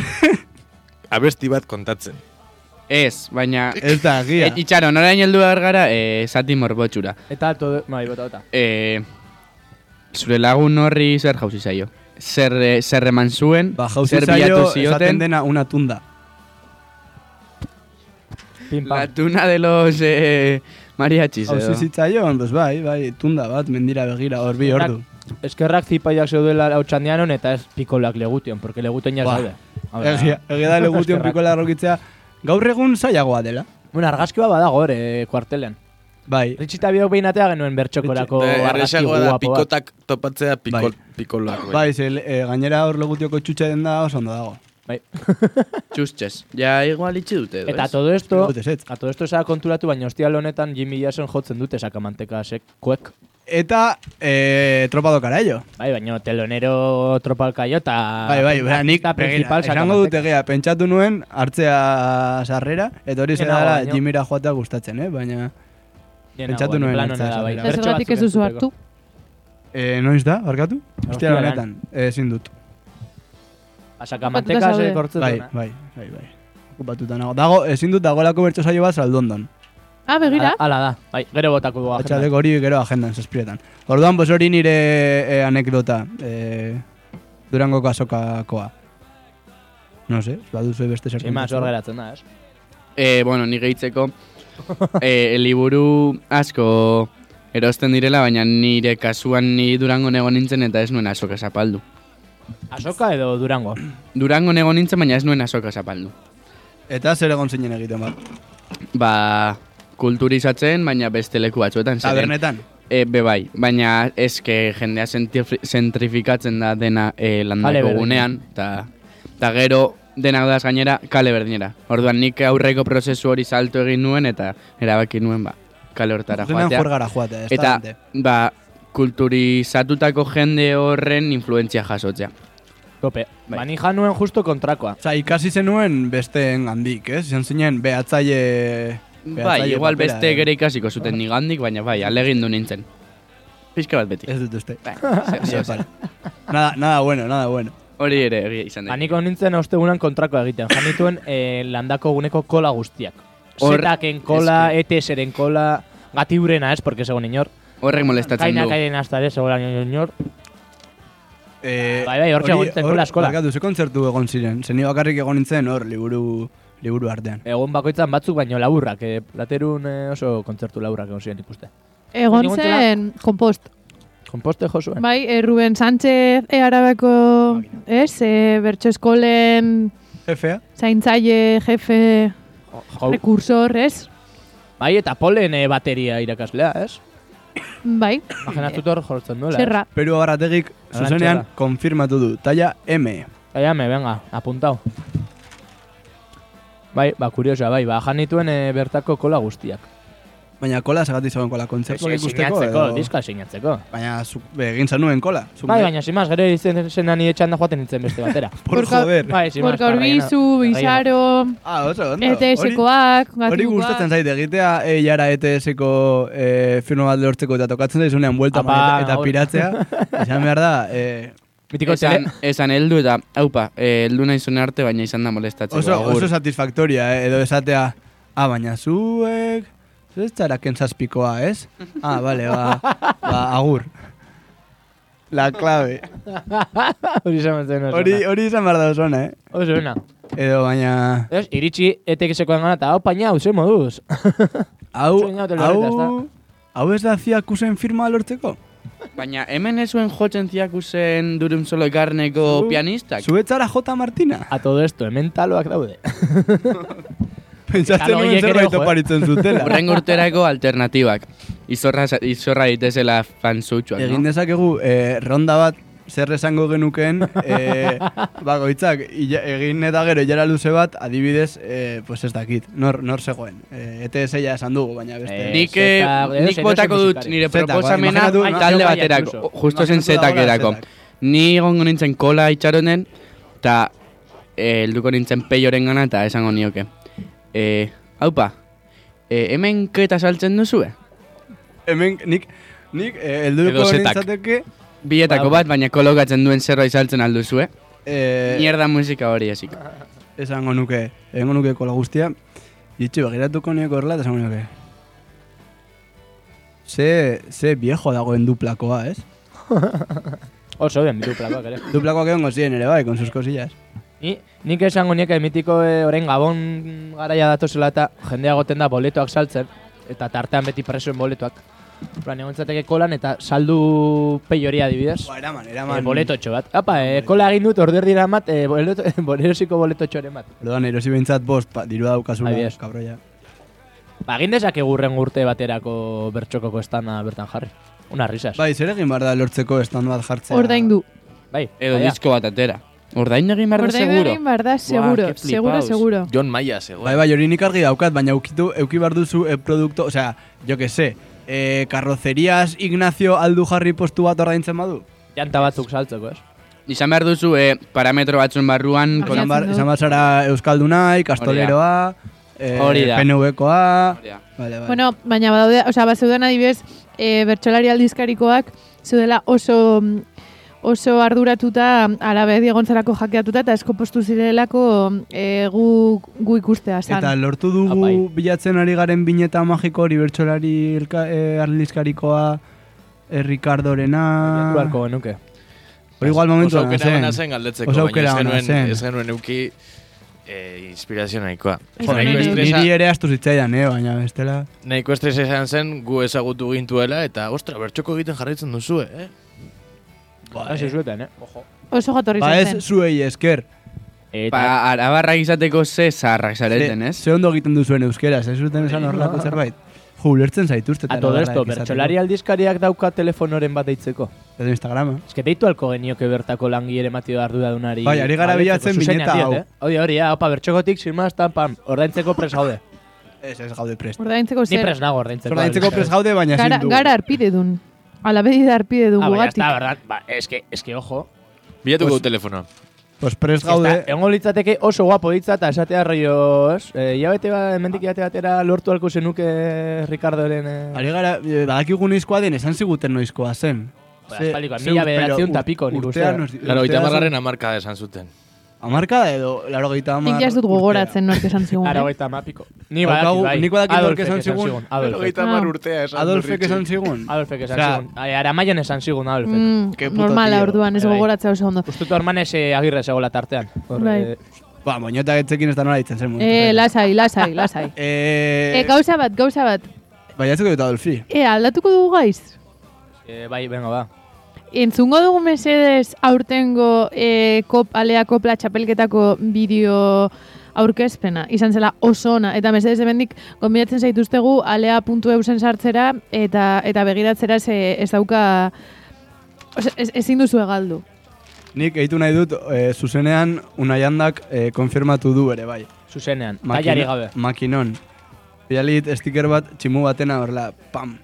Speaker 6: abesti bat kontatzen.
Speaker 2: Ez, baina...
Speaker 3: Ez da,
Speaker 2: E,
Speaker 3: egia.
Speaker 2: itxaron, orain heldu behar gara, eh, zati morbotxura.
Speaker 4: Eta todo... Bai, bota, bota.
Speaker 2: Eh, zure lagun horri zer jauzi zaio. Zer, eh, zer eman zuen,
Speaker 3: Ba, jauzi
Speaker 2: zer
Speaker 3: zaio
Speaker 2: bilatu
Speaker 3: esaten
Speaker 2: zioten,
Speaker 3: dena una tunda.
Speaker 4: Pim
Speaker 3: ba.
Speaker 2: la
Speaker 4: pam.
Speaker 2: tuna de los eh, mariachis edo.
Speaker 3: Hauzi zitzaion, pues bai, bai, tunda bat, mendira begira, hor bi ordu.
Speaker 4: Eskerrak zipaiak zeudela hau txandianon eta ez pikolak legution, porque legution ja
Speaker 3: Ba.
Speaker 4: zaude. Hau da.
Speaker 3: Egia, egia da legution
Speaker 4: Eskerrak.
Speaker 3: pikola arrokitzea. Gaur egun zailagoa dela.
Speaker 4: Bueno, argazki bat badago hor, eh, kuartelen.
Speaker 3: Bai,
Speaker 4: Ritxita biok behin atea genuen bertxokorako argazki
Speaker 6: Erresagoa da
Speaker 4: guapo bat.
Speaker 6: pikotak topatzea pikol, pikoloak.
Speaker 3: bai, ze, e, gainera hor legutioko txutxe den da oso ondo dago.
Speaker 4: Bai.
Speaker 2: Txustxez. Ja, igual itxi dute edo,
Speaker 4: Eta
Speaker 2: ez?
Speaker 4: todo esto,
Speaker 3: Legutez ez.
Speaker 4: a todo esto esa konturatu baina hostial honetan Jimmy Jason jotzen dute sakamanteka sekuek.
Speaker 3: Eta e, tropado karaio.
Speaker 4: Bai, baina telonero tropalkaio eta...
Speaker 3: Bai, bai, bai, nik
Speaker 4: eta Ah,
Speaker 3: begira,
Speaker 4: principal
Speaker 3: esango
Speaker 4: Sacamantec.
Speaker 3: dut egia, pentsatu nuen hartzea sarrera, eta hori
Speaker 4: Lehenago
Speaker 3: zera
Speaker 4: baino.
Speaker 3: jimira joatea gustatzen, eh? baina
Speaker 4: Ni nago,
Speaker 3: pentsatu
Speaker 4: ni
Speaker 3: nuen
Speaker 4: plano
Speaker 3: hartzea
Speaker 4: nada, bai.
Speaker 3: sarrera.
Speaker 5: Eta
Speaker 4: Bertso
Speaker 5: zergatik ez
Speaker 4: batzuk
Speaker 5: duzu
Speaker 4: entzuteko.
Speaker 5: hartu.
Speaker 3: e, noiz da, barkatu? Ostia
Speaker 4: Ostiralan.
Speaker 3: honetan, ezin dut.
Speaker 4: Ba, Sakamanteka
Speaker 5: Batuta zaude.
Speaker 4: sekortzen
Speaker 3: Bai, bai, bai, bai. Okupatuta nago. Dago, ezin dut dagolako bertso saio bat saldondon.
Speaker 5: Ah, begira.
Speaker 4: Ala da, bai, gero botako dugu. agendan.
Speaker 3: Atxaldeko hori gero agendan, zazpiretan. Orduan, pues hori nire e, anekdota, e, durangoko azokakoa. No se, baduzu beste zer
Speaker 4: Sin más, hor
Speaker 3: kontatzeko.
Speaker 4: geratzen da, ez?
Speaker 2: Eh, bueno, ni gehitzeko eh, liburu asko erosten direla, baina nire kasuan ni Durango egon nintzen eta ez nuen azoka zapaldu.
Speaker 4: Asoka edo Durango?
Speaker 3: Bai.
Speaker 2: Durango egon nintzen, baina ez nuen azoka zapaldu.
Speaker 3: Eta zer egon zinen egiten bat.
Speaker 2: ba, kulturizatzen, baina beste leku batzuetan. zeren-
Speaker 3: Tabernetan.
Speaker 2: E, be bai, baina eske jendea zentrif- zentrifikatzen da dena e,
Speaker 4: Kale
Speaker 2: landako
Speaker 4: berdin.
Speaker 2: gunean, eta ta gero denak da gainera kale berdinera. Orduan nik aurreko prozesu hori salto egin nuen eta erabaki nuen ba, kale hortara
Speaker 3: Zuzenean
Speaker 2: joatea.
Speaker 3: juergara joatea, ez
Speaker 2: Eta ba, kulturizatutako jende horren influentzia jasotzea.
Speaker 4: Tope. Ba, ni januen justo kontrakoa.
Speaker 3: Osa, ikasi zenuen besteen gandik, ez? Izan zinen behatzaile... eh.
Speaker 2: Bai, igual beste gere ikasiko zuten nigandik, baina bai, alegin du nintzen. Pixka bat beti. Bai,
Speaker 3: Ez dut uste.
Speaker 2: Zer- zer- zer.
Speaker 3: nada, nada bueno, nada bueno.
Speaker 2: Hori ere egia izan da.
Speaker 4: Ba, niko nintzen ostegunan kontrakoa egiten. Janituen eh, landako guneko kola guztiak.
Speaker 2: Hor-
Speaker 4: Zetaken kola, ETS-eren kola, gatiurena ez, porque segon inor.
Speaker 2: Horrek molestatzen
Speaker 4: Kainak
Speaker 2: du.
Speaker 4: aien hasta ere, segon inor.
Speaker 3: Eh,
Speaker 4: Bai, bai, hortxe egon zen kola eskola.
Speaker 3: Barkatu, ze kontzertu egon ziren. Ze ni bakarrik egon nintzen hor, liburu, liburu artean.
Speaker 4: Egon bakoitzan batzuk baino laburrak, eh, platerun eh, oso kontzertu laburrak egon ziren ikuste.
Speaker 5: Egon
Speaker 4: Nik guntzela-
Speaker 5: zen, kompost.
Speaker 4: Komposte josuen.
Speaker 5: Bai, eh, Ruben Sánchez eh, arabako, ez, eh, bertso eskolen
Speaker 3: Jefea?
Speaker 5: zaintzaile, jefe,
Speaker 4: Jau.
Speaker 5: rekursor, ez?
Speaker 4: Bai, eta polen eh, bateria irakaslea, ez?
Speaker 5: Bai,
Speaker 4: Imaginatut hor jortzen duela. ez?
Speaker 5: zerra.
Speaker 3: Peru agarategik
Speaker 4: Arantxa
Speaker 3: zuzenean
Speaker 4: da.
Speaker 3: konfirmatu du. Talla M.
Speaker 4: Kaiame, venga, apuntao. Bai, ba, kuriosoa, bai, ba, janituen eh, bertako kola guztiak.
Speaker 3: Baina kola zagati zegoen kola kontzertu ikusteko.
Speaker 4: sinatzeko,
Speaker 3: edo-
Speaker 4: diska sinatzeko.
Speaker 3: Baina zu, be, egin zanuen kola. Zu-
Speaker 4: Bai, baina simaz, gero izen zenan nire txanda joaten nintzen beste batera.
Speaker 3: Por
Speaker 5: Gorka-
Speaker 3: joder.
Speaker 4: bai, simaz.
Speaker 5: Gorka Urbizu, Bizaro,
Speaker 3: Ah, oso, ondo. Hori-
Speaker 5: ETS-koak,
Speaker 3: Hori gustatzen zaite egitea e, jara ETS-eko e, firma bat lortzeko eta tokatzen zaizunean buelta
Speaker 4: Apa,
Speaker 3: eman eta, eta
Speaker 4: hori.
Speaker 3: piratzea. Esan behar da, e,
Speaker 4: Mitiko
Speaker 2: esan,
Speaker 4: tele...
Speaker 2: esan heldu eta, haupa, eh, heldu nahi zuen arte, baina izan da molestatzeko.
Speaker 3: oso,
Speaker 2: agur.
Speaker 3: oso satisfaktoria eh, edo esatea, ah, baina zuek, ez zara kentzazpikoa, ez? Ah, bale, ba, ba agur. La clave.
Speaker 4: Hori izan zen oso.
Speaker 3: Hori, hori izan behar da oso ona, eh?
Speaker 4: ona. Oso ona.
Speaker 3: Edo baina,
Speaker 4: Ez, iritsi etekisekoan gana eta hau paina hau zen moduz.
Speaker 3: hau,
Speaker 4: Oso oinatu lorreta,
Speaker 3: hau, hau ez da ziakusen firma lortzeko?
Speaker 2: Baina hemen ez zuen jotzen ziakusen durum solo garneko
Speaker 3: Zu-
Speaker 2: pianistak.
Speaker 3: Zuetzara J. Martina.
Speaker 4: A todo esto, hemen taloak daude.
Speaker 3: Pentsatzen
Speaker 4: Talo
Speaker 3: nuen
Speaker 4: horiek ere,
Speaker 3: zerbait
Speaker 4: ojo, eh.
Speaker 3: oparitzen zutela.
Speaker 2: Horren urterako alternatibak. Izorra, izorra ditezela fanzutxuak, no?
Speaker 3: Egin dezakegu eh, ronda bat zer esango genukeen eh, bagoitzak ila- egin eta gero ilara luze bat adibidez eh, pues ez dakit nor, nor zegoen eh, ETS ja esan dugu baina beste
Speaker 4: Eh,
Speaker 2: Nik, eh,
Speaker 4: Zeta, edo
Speaker 2: nik
Speaker 4: zein
Speaker 2: botako
Speaker 4: oso
Speaker 2: dut
Speaker 4: musikari.
Speaker 2: nire
Speaker 3: Zetakoa,
Speaker 2: proposamena
Speaker 3: imaginatu,
Speaker 4: no?
Speaker 2: talde
Speaker 4: Imaginatu
Speaker 2: baterako,
Speaker 4: dagoela
Speaker 2: justo zen zetakerako. Ni egongo nintzen kola itxaronen, eta eh, helduko nintzen peioren gana, eta esango nioke. Eh, haupa, eh, hemen keta saltzen duzue?
Speaker 3: hemen nik nik eh,
Speaker 2: Edo
Speaker 3: helduko
Speaker 2: zetak.
Speaker 3: nintzateke
Speaker 2: Bietako bat, baina kolokatzen duen zerbait saltzen alduzue.
Speaker 3: Ba, eh, Ah,
Speaker 2: Mierda musika hori esik.
Speaker 3: esango nuke esango nuke kola guztia itxu begiratuko nieko horrela eta esango nuke ze, ze viejo dagoen duplakoa ez
Speaker 4: Oso ben, bitu plakoak ere.
Speaker 3: duplakoak egon ziren ere bai con sus cosillas
Speaker 4: Ni, nik esango nieke mitiko eh, orain gabon garaia datozela eta jendea goten da boletoak saltzen. Eta tartean beti presoen boletoak. Plan, egon zateke kolan eta saldu pei hori adibidez.
Speaker 3: Ba, eraman,
Speaker 4: Eh,
Speaker 3: eraman.
Speaker 4: boletotxo bat. Apa, eh, kola egin dut order dira mat, eh, boleto, bolerosiko boletotxoren bat.
Speaker 3: Orduan, erosi behintzat bost, pa, dirua
Speaker 2: Bai,
Speaker 3: daukazula,
Speaker 4: Adibidez.
Speaker 3: kabroia.
Speaker 4: Ba, egin dezakegu hurrengo urte baterako bertxokoko estana bertan jarri. Una risas.
Speaker 3: Bai, zer egin behar da lortzeko estan bat jartzea.
Speaker 5: ordaindu.
Speaker 4: Bai,
Speaker 3: ah,
Speaker 2: Edo
Speaker 4: baina.
Speaker 2: disko bat atera. Ordain egin behar da
Speaker 5: Ordaindu
Speaker 2: seguro.
Speaker 5: egin behar da, seguro,
Speaker 2: ke
Speaker 5: seguro,
Speaker 2: flipaos.
Speaker 5: seguro.
Speaker 1: John Maia zegoen.
Speaker 3: Bai, bai, hori nik argi daukat, baina ukitu, euki behar duzu eh, produkto, osea, jo que se, eh, karrocerias Ignacio aldu jarri postu bat ordaintzen badu?
Speaker 4: Janta batzuk saltzeko, ez?
Speaker 2: Izan behar duzu eh, parametro batzun barruan,
Speaker 5: Ah,
Speaker 2: kon...
Speaker 5: Abiatzen
Speaker 3: Esan bar,
Speaker 5: du.
Speaker 3: esan bazara Euskaldunai, Kastoleroa, eh,
Speaker 2: Hori da.
Speaker 3: PNV-koa...
Speaker 2: Hori da.
Speaker 3: Vale, vale.
Speaker 5: Bueno, baina badaude, osea, bazeuden adibidez, e, bertsolari aldizkarikoak zeudela oso mm, oso arduratuta alabe diegontzarako jakeatuta eta eskopostu zirelako e, gu, gu ikustea zan.
Speaker 3: Eta lortu dugu
Speaker 4: Apai.
Speaker 3: bilatzen ari garen bineta magiko hori bertsolari elka, eh, arlizkarikoa, eh, Ricardorena...
Speaker 4: Ah. Beharko genuke.
Speaker 3: Hori igual momentu
Speaker 1: Oso
Speaker 3: dena
Speaker 1: aukera
Speaker 3: zen.
Speaker 1: ona zen galdetzeko,
Speaker 3: Oso
Speaker 1: baina
Speaker 3: aukera
Speaker 1: ez
Speaker 3: ona zen.
Speaker 1: genuen, ez genuen euki eh, inspirazio nahikoa.
Speaker 5: Ez
Speaker 1: Nahiko
Speaker 5: genuen.
Speaker 1: estresa-
Speaker 3: Niri ere astu zitzaidan, eh, baina bestela...
Speaker 1: Nahiko estresa izan zen, gu ezagutu gintuela, eta ostra, bertxoko egiten jarraitzen duzu, eh?
Speaker 3: Bai.
Speaker 4: Hasi zuetan, eh?
Speaker 5: Oso jatorri
Speaker 3: Ba
Speaker 5: izan
Speaker 3: ez
Speaker 5: zen.
Speaker 3: zuei esker.
Speaker 4: Eta,
Speaker 2: Ba, arabarrak izateko ze zaharrak zareten,
Speaker 3: Ze-
Speaker 2: ez?
Speaker 3: Ze ondo egiten duzuen euskeraz, ez zuten esan horrelako zerbait. Jo, ulertzen zaituzte.
Speaker 4: a todo esto, bertxolari aldizkariak dauka telefonoren bat deitzeko.
Speaker 3: Edo Instagrama.
Speaker 4: Ez que deitu alko genioke bertako langile matio ardura dunari.
Speaker 3: Bai, ari gara bilatzen bineta hau.
Speaker 4: eh? Hori, hori, ah, hau, pa, bertxokotik, sirma, estan, pam, ordaintzeko pres gaude.
Speaker 3: Ez, ez gaude prest.
Speaker 5: Ordaintzeko
Speaker 4: Ni
Speaker 5: zer.
Speaker 4: pres nago ordaintzeko.
Speaker 3: Zordaintzeko prest gaude, baina ezin
Speaker 5: Gara,
Speaker 3: dugu.
Speaker 5: gara arpide dun. Ala bedi da arpide du
Speaker 4: Ah, baina, ez
Speaker 5: gugatik.
Speaker 4: da, verdad, ba, es que, es que, ojo,
Speaker 1: Bilatuko du telefonoa.
Speaker 3: Pues prest
Speaker 4: Gaude.
Speaker 3: gaude,
Speaker 4: Eta, egongo litzateke oso guapo hitza eta esatea rollo, ez? Eh, Iabete bat, hemendik iabete batera lortu alko zenuke Ricardoren... Eh,
Speaker 3: Ari gara, e, badakigu noizkoa den, esan ziguten noizkoa zen.
Speaker 4: Ba, aspaldikoa, mila bederatziun ta piko nik uste.
Speaker 1: Claro, oita margarren amarka esan zuten.
Speaker 3: Amarka edo, laro gaita amar.
Speaker 5: Nik ja ez dut gogoratzen nork esan zigun.
Speaker 4: Ara
Speaker 5: eh?
Speaker 4: goita mapiko. Ni
Speaker 3: Daukagu-
Speaker 4: badakit, bai.
Speaker 3: nik badakit nork esan zigun.
Speaker 4: Adolfek.
Speaker 5: hamar
Speaker 1: urtea esan
Speaker 3: Adolfek esan zigun.
Speaker 4: Adolfek esan
Speaker 3: Osea,
Speaker 4: zigun. Ai, Aramaian esan zigun Adolfek. Mm.
Speaker 5: Mm,
Speaker 6: Ke puto
Speaker 5: normala
Speaker 6: tío.
Speaker 5: orduan, ez
Speaker 4: Bai.
Speaker 5: gogoratzea oso ondo.
Speaker 4: Ustutu hermanes eh, agirre zegoela tartean. Hor,
Speaker 5: Bai.
Speaker 4: eh,
Speaker 3: Ba, moñeta etzekin ez da nola ditzen zen. momentu
Speaker 5: Eh,
Speaker 3: horretan.
Speaker 5: lasai, lasai, lasai.
Speaker 3: Eh,
Speaker 5: Eh, gauza bat, gauza bat.
Speaker 3: Baiatzeko dut Adolfi.
Speaker 5: Eh, aldatuko dugu gaiz?
Speaker 4: eh, bai, venga, ba.
Speaker 5: Entzungo dugu mesedez aurtengo eh, kop, alea kopla txapelketako bideo aurkezpena. Izan zela oso ona. Eta mesedez hemendik gonbidatzen zaituztegu alea.eusen sartzera eta, eta begiratzera ze ez dauka... Ose, ez, ezin duzu egaldu.
Speaker 3: Nik egitu nahi dut, eh, zuzenean, unai handak eh, konfirmatu du ere, bai.
Speaker 4: Zuzenean.
Speaker 3: Makino-
Speaker 4: Taiari gabe.
Speaker 3: Makinon. Bialit sticker bat tximu batena horrela, pam.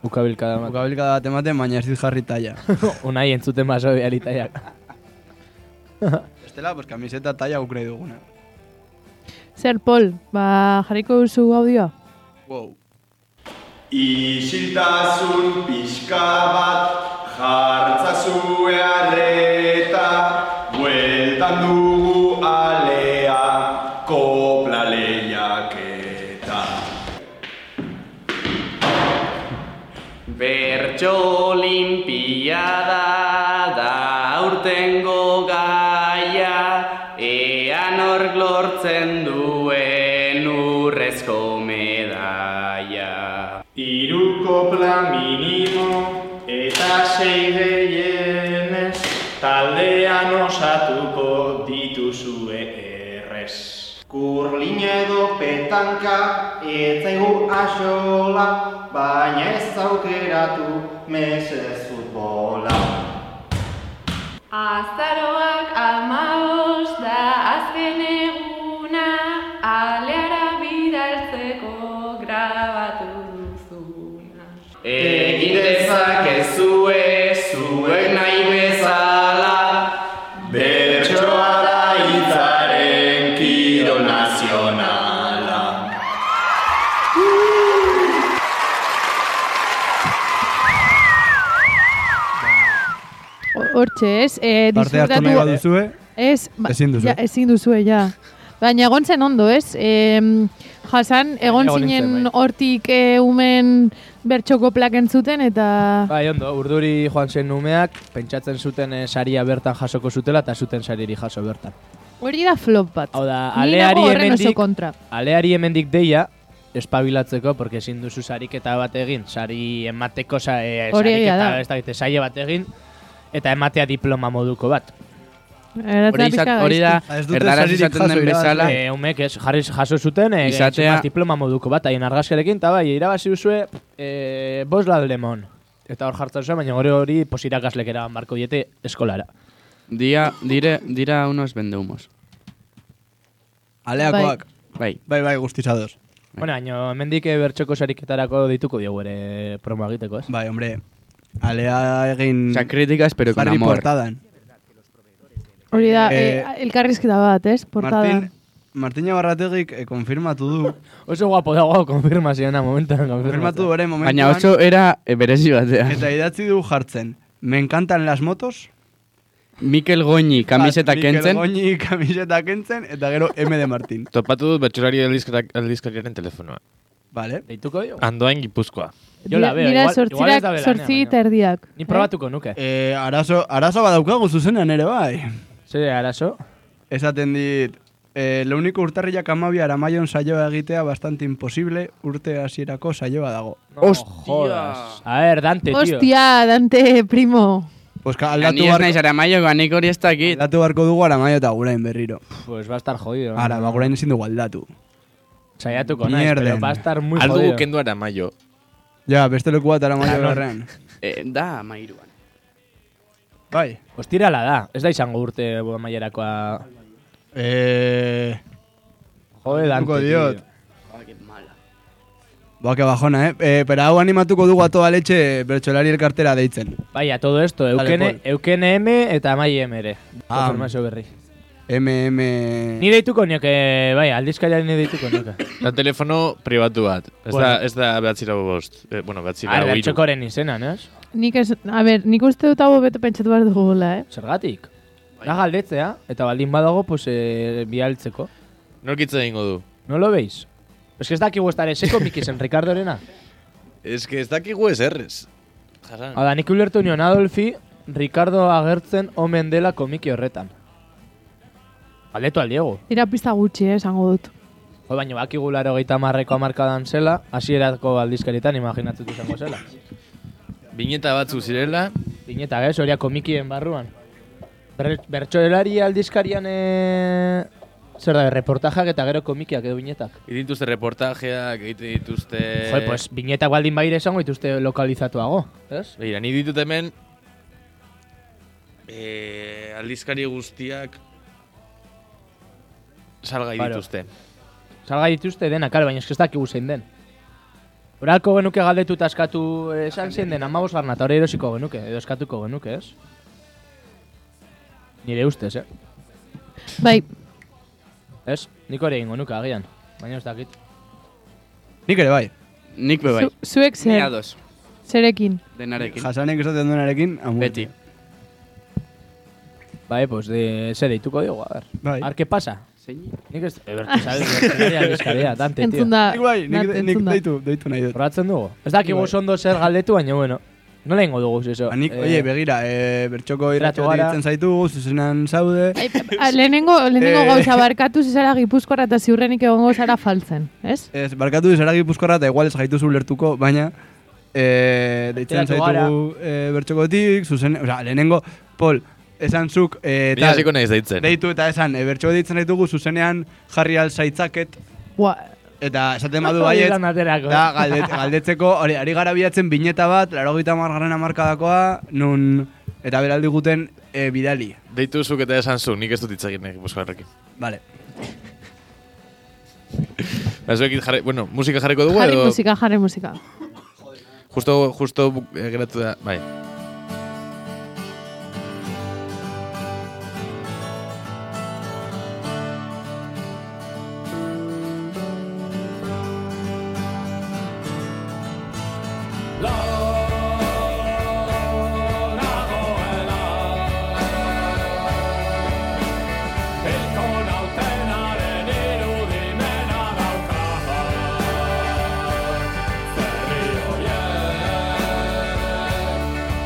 Speaker 4: Bukabilka da mat.
Speaker 3: Bukabilka bat ematen, baina ez dit jarri taia.
Speaker 4: Unai entzuten baso bialitaiak.
Speaker 3: Estela, pues kamiseta taia guk nahi duguna.
Speaker 5: Zer, Pol, ba, jarriko duzu audioa?
Speaker 3: Wow.
Speaker 7: Isiltasun pixka bat jartzazue arreta, bueltan dugu alea, kopla lehiaketa.
Speaker 8: Bertso olimpiada da aurtengo gaia, ea nork lortzen duen urrezko medaia.
Speaker 7: Hiru kopla minimo eta sei gehienez, taldean osatuko dituzue errez. Kurlina edo petanka, ez zaigu asola, baina ez aukeratu mesedez futbola.
Speaker 9: Azaroak amabost da azken eguna, aleara bidaltzeko grabatu duzuna.
Speaker 8: Egin dezakezue zuek nahi bezala,
Speaker 7: Bertsoa da hitzaren kiro nazionala.
Speaker 5: Ho- Hortxe, ez? Eh,
Speaker 3: Parte hartu nahi
Speaker 5: disfrutatu-
Speaker 3: baduzue,
Speaker 5: Ez, ba,
Speaker 3: Ezin duzu. eh?
Speaker 5: Ja, ezin duzue, ja. Baina egon zen ondo, ez? Em, jasan,
Speaker 4: egon
Speaker 5: egon
Speaker 4: nintzen,
Speaker 5: zinen
Speaker 4: bai.
Speaker 5: hortik eh, umen bertxoko plaken zuten eta...
Speaker 4: Bai, ondo, urduri joan zen umeak, pentsatzen zuten eh, saria bertan jasoko zutela eta zuten sariri jaso bertan.
Speaker 5: Hori da flop bat.
Speaker 4: Hau da,
Speaker 5: Ni nago
Speaker 4: aleari
Speaker 5: horren oso
Speaker 4: hemendik,
Speaker 5: kontra.
Speaker 4: aleari hemendik deia, espabilatzeko, porque ezin duzu sariketa bat egin, sari emateko sa, eh,
Speaker 5: Hori egia
Speaker 4: sariketa,
Speaker 5: da.
Speaker 4: ez dakite, saie bat egin, eta ematea diploma moduko bat.
Speaker 2: Hori,
Speaker 5: Geratzen da
Speaker 2: izat,
Speaker 5: pixka
Speaker 2: hori da,
Speaker 3: gaizki. Ez dute
Speaker 2: erdaraz
Speaker 3: saririk
Speaker 2: izaten
Speaker 3: jaso Eh.
Speaker 2: den
Speaker 3: irabazle.
Speaker 2: bezala,
Speaker 4: E, umek ez, jarri jaso zuten, e,
Speaker 2: Bai. Izatea-
Speaker 4: izatea... diploma moduko bat, haien argazkarekin, eta bai, irabazi duzue, e, bos lemon. Eta hor jartzen zuen, baina hori hori posirakaslek eraban barko diete eskolara.
Speaker 2: dia, dire, dira unos vendehumos.
Speaker 3: aleakoak.
Speaker 2: Bai,
Speaker 3: Bai, bai, guztiz ados.
Speaker 4: Bueno, baina hemendik eh, bertxoko sariketarako dituko diogu ere promo egiteko, ez?
Speaker 3: Bai, hombre, alea egin
Speaker 2: osea, críticas, pero con
Speaker 3: jarri
Speaker 2: amor.
Speaker 3: portadan.
Speaker 5: Hori da, eh,
Speaker 3: Eh,
Speaker 5: elkarrizketa bat, ez? Portada.
Speaker 3: Martin, Martina Barrategik eh, konfirmatu du.
Speaker 4: Oso guapo dago konfirmazioena momentan. konfirmatu.
Speaker 3: konfirmatu du bere momentuan.
Speaker 2: Baina oso era eh, berezi batean.
Speaker 3: Eta idatzi du jartzen. Me encantan las motos.
Speaker 2: Mikel Goñi kamiseta
Speaker 3: Mikel
Speaker 2: kentzen,
Speaker 3: Goñi kamiseta kentzen, eta gero M de Martin.
Speaker 1: Topatu dut bertsolari aldizkarak- aldizkariaren telefonoa.
Speaker 3: Vale.
Speaker 4: Deituko diogu?
Speaker 1: Andoain gipuzkoa.
Speaker 4: Jo la veo,
Speaker 5: Dira
Speaker 4: igual-
Speaker 5: sortzirak-
Speaker 4: igual ez da belanean,
Speaker 5: sortzi
Speaker 4: baina.
Speaker 5: eta erdiak.
Speaker 4: Ni
Speaker 5: eh?
Speaker 4: probatuko nuke.
Speaker 3: E, arazo, arazo badaukagu zuzenean ere bai.
Speaker 4: Zer arazo?
Speaker 3: Esaten dit, e, leuniko urtarriak amabia aramaion saioa egitea bastante imposible urte hasierako saioa dago.
Speaker 4: No, Hostia! A ver, Dante, tío.
Speaker 5: Hostia, Dante, primo.
Speaker 3: Pues ka- aldatu,
Speaker 2: Ni ez naiz
Speaker 3: barko,
Speaker 2: aramaio, nik hori ez dakit.
Speaker 3: aldatu barko dugu aramaio eta gurain berriro.
Speaker 4: Pues va a estar jodido. ¿no?
Speaker 3: Ara, ba, gurain ezin dugu aldatu.
Speaker 4: Saiatuko naiz, pero
Speaker 3: Mierden.
Speaker 4: va a estar muy
Speaker 1: Algo
Speaker 4: jodido.
Speaker 1: kendu ara maio.
Speaker 3: Ja, beste leku bat aramaio berrean.
Speaker 2: Eh, da, mairuan.
Speaker 3: Bai.
Speaker 4: Ostirala da, ez da izango urte bu- amaierakoa.
Speaker 3: Eh,
Speaker 4: Jode, Dante.
Speaker 3: Duko diot.
Speaker 4: tío.
Speaker 3: Boa, que bajona, eh? eh pero hau animatuko dugu a toda leche bertxolari elkartera deitzen.
Speaker 4: Vaya, todo esto, Eukene,
Speaker 3: Paul.
Speaker 4: Eukene M eta Amai M ere.
Speaker 3: Ah.
Speaker 4: Konfirmazio berri.
Speaker 3: MM...
Speaker 4: Ni deituko nioke, bai, aldizkaria ni deituko nioke.
Speaker 1: Da telefono pribatu bat. Ez
Speaker 4: Bueno.
Speaker 1: da, ez da behatzira bost. Eh, bueno, behatzira
Speaker 4: Ar,
Speaker 1: hau iru.
Speaker 4: bertxokoren izena, nes?
Speaker 5: Nik ez, a ber, nik uste dut hau beto pentsatu behar dugula, eh?
Speaker 4: Zergatik. Da galdetzea, eta baldin badago, pues, eh, bialtzeko.
Speaker 1: Norkitza egingo du.
Speaker 4: No lo veis? Es que ez dakigu ez da seko mikisen Ricardorena.
Speaker 1: Ez que ez dakigu ez errez. Jasan.
Speaker 4: Hau da, nik ulertu nion Adolfi, Ricardo agertzen omen dela komiki horretan. Galdetu al Diego.
Speaker 5: Dira pista gutxi, eh, esango dut.
Speaker 4: Jo, baina bakigu laro gehieta marreko amarkadan zela, hasierako aldizkaritan imaginatzen izango zela.
Speaker 1: Bineta batzu zirela,
Speaker 4: Bineta, gez, horia komikien barruan. Ber, bertxolari aldizkarian e... Zer da, reportajak eta gero komikiak edo binetak.
Speaker 1: dituzte reportajeak, egite dituzte...
Speaker 4: Jo, pues binetak baldin baire esango dituzte lokalizatuago, ez?
Speaker 1: Begira, ni ditut hemen... Eh, aldizkari guztiak... Salgai
Speaker 4: Baro.
Speaker 1: dituzte.
Speaker 4: Salga dituzte denak, kale, baina eskestak iguzein den. Horako genuke galdetu eta eskatu eh, esan zien den amabos garna, eta hori erosiko genuke, edo eskatuko genuke, ez? Nire ustez, eh?
Speaker 5: Bai,
Speaker 4: Ez? Nik hori egingo nuke agian, baina ez dakit.
Speaker 3: Nik ere bai.
Speaker 2: Nik be bai.
Speaker 5: zu- zuek
Speaker 2: Ni
Speaker 5: zer,
Speaker 2: ados,
Speaker 5: zerekin.
Speaker 2: denarekin.
Speaker 3: Jasanek esaten duenarekin, amu.
Speaker 2: Beti.
Speaker 4: Bai, pues, de, ze deituko diogu, a ber.
Speaker 3: Bai.
Speaker 4: Ar, que pasa?
Speaker 2: Zein?
Speaker 4: Nik ez... Ebertu, zabe, Dante, tio.
Speaker 5: Entzun da,
Speaker 3: Nik bai, nik,
Speaker 5: Nat,
Speaker 3: nik
Speaker 5: entzun da.
Speaker 3: deitu, deitu nahi dut.
Speaker 4: Probatzen dugu. Ez dakik oso ondo zer galdetu, baina, bueno. Nola ingo dugu, Eh, zizo?
Speaker 3: Ba, nik, oie, begira, eh, bertxoko
Speaker 4: Geratu
Speaker 3: irratxoa
Speaker 4: gara.
Speaker 3: ditzen zaitu, zuzenan zaude.
Speaker 5: Ai, a, Ah, lehenengo, lehenengo
Speaker 3: Eh.
Speaker 5: gauza barkatu zizara gipuzkoara eta ziurrenik egongo zara faltzen, ez?
Speaker 3: Ez, barkatu dizara gipuzkorra eta igual ez gaitu ulertuko, baina e, deitzen
Speaker 4: Ateratu gara.
Speaker 3: zaitugu e, bertxokotik, zuzen, oza, lehenengo, Pol, esan zuk, e,
Speaker 1: Ni
Speaker 3: tal,
Speaker 1: hasiko naiz deitzen.
Speaker 3: deitu eta esan, e, bertxoko ditzen zaitugu zuzenean jarri altzaitzaket,
Speaker 5: Gua,
Speaker 3: eta esaten badu baiet,
Speaker 4: Lan aterako.
Speaker 3: da galdet, galdetzeko, hori, ari gara bilatzen bineta bat, laro gita margarren amarkadakoa, nun, eta beraldi guten e, bidali,
Speaker 1: Deitu zuk eta esan zuk, nik ez dut itzagin nahi Gipuzkoarrekin.
Speaker 3: vale.
Speaker 1: Ba, zuekin jarri, bueno, musika jarriko dugu
Speaker 5: jarri
Speaker 1: edo...
Speaker 5: musika, jarri musika.
Speaker 1: Justo, justo buk- eh, geratu da, bai.
Speaker 7: Eusko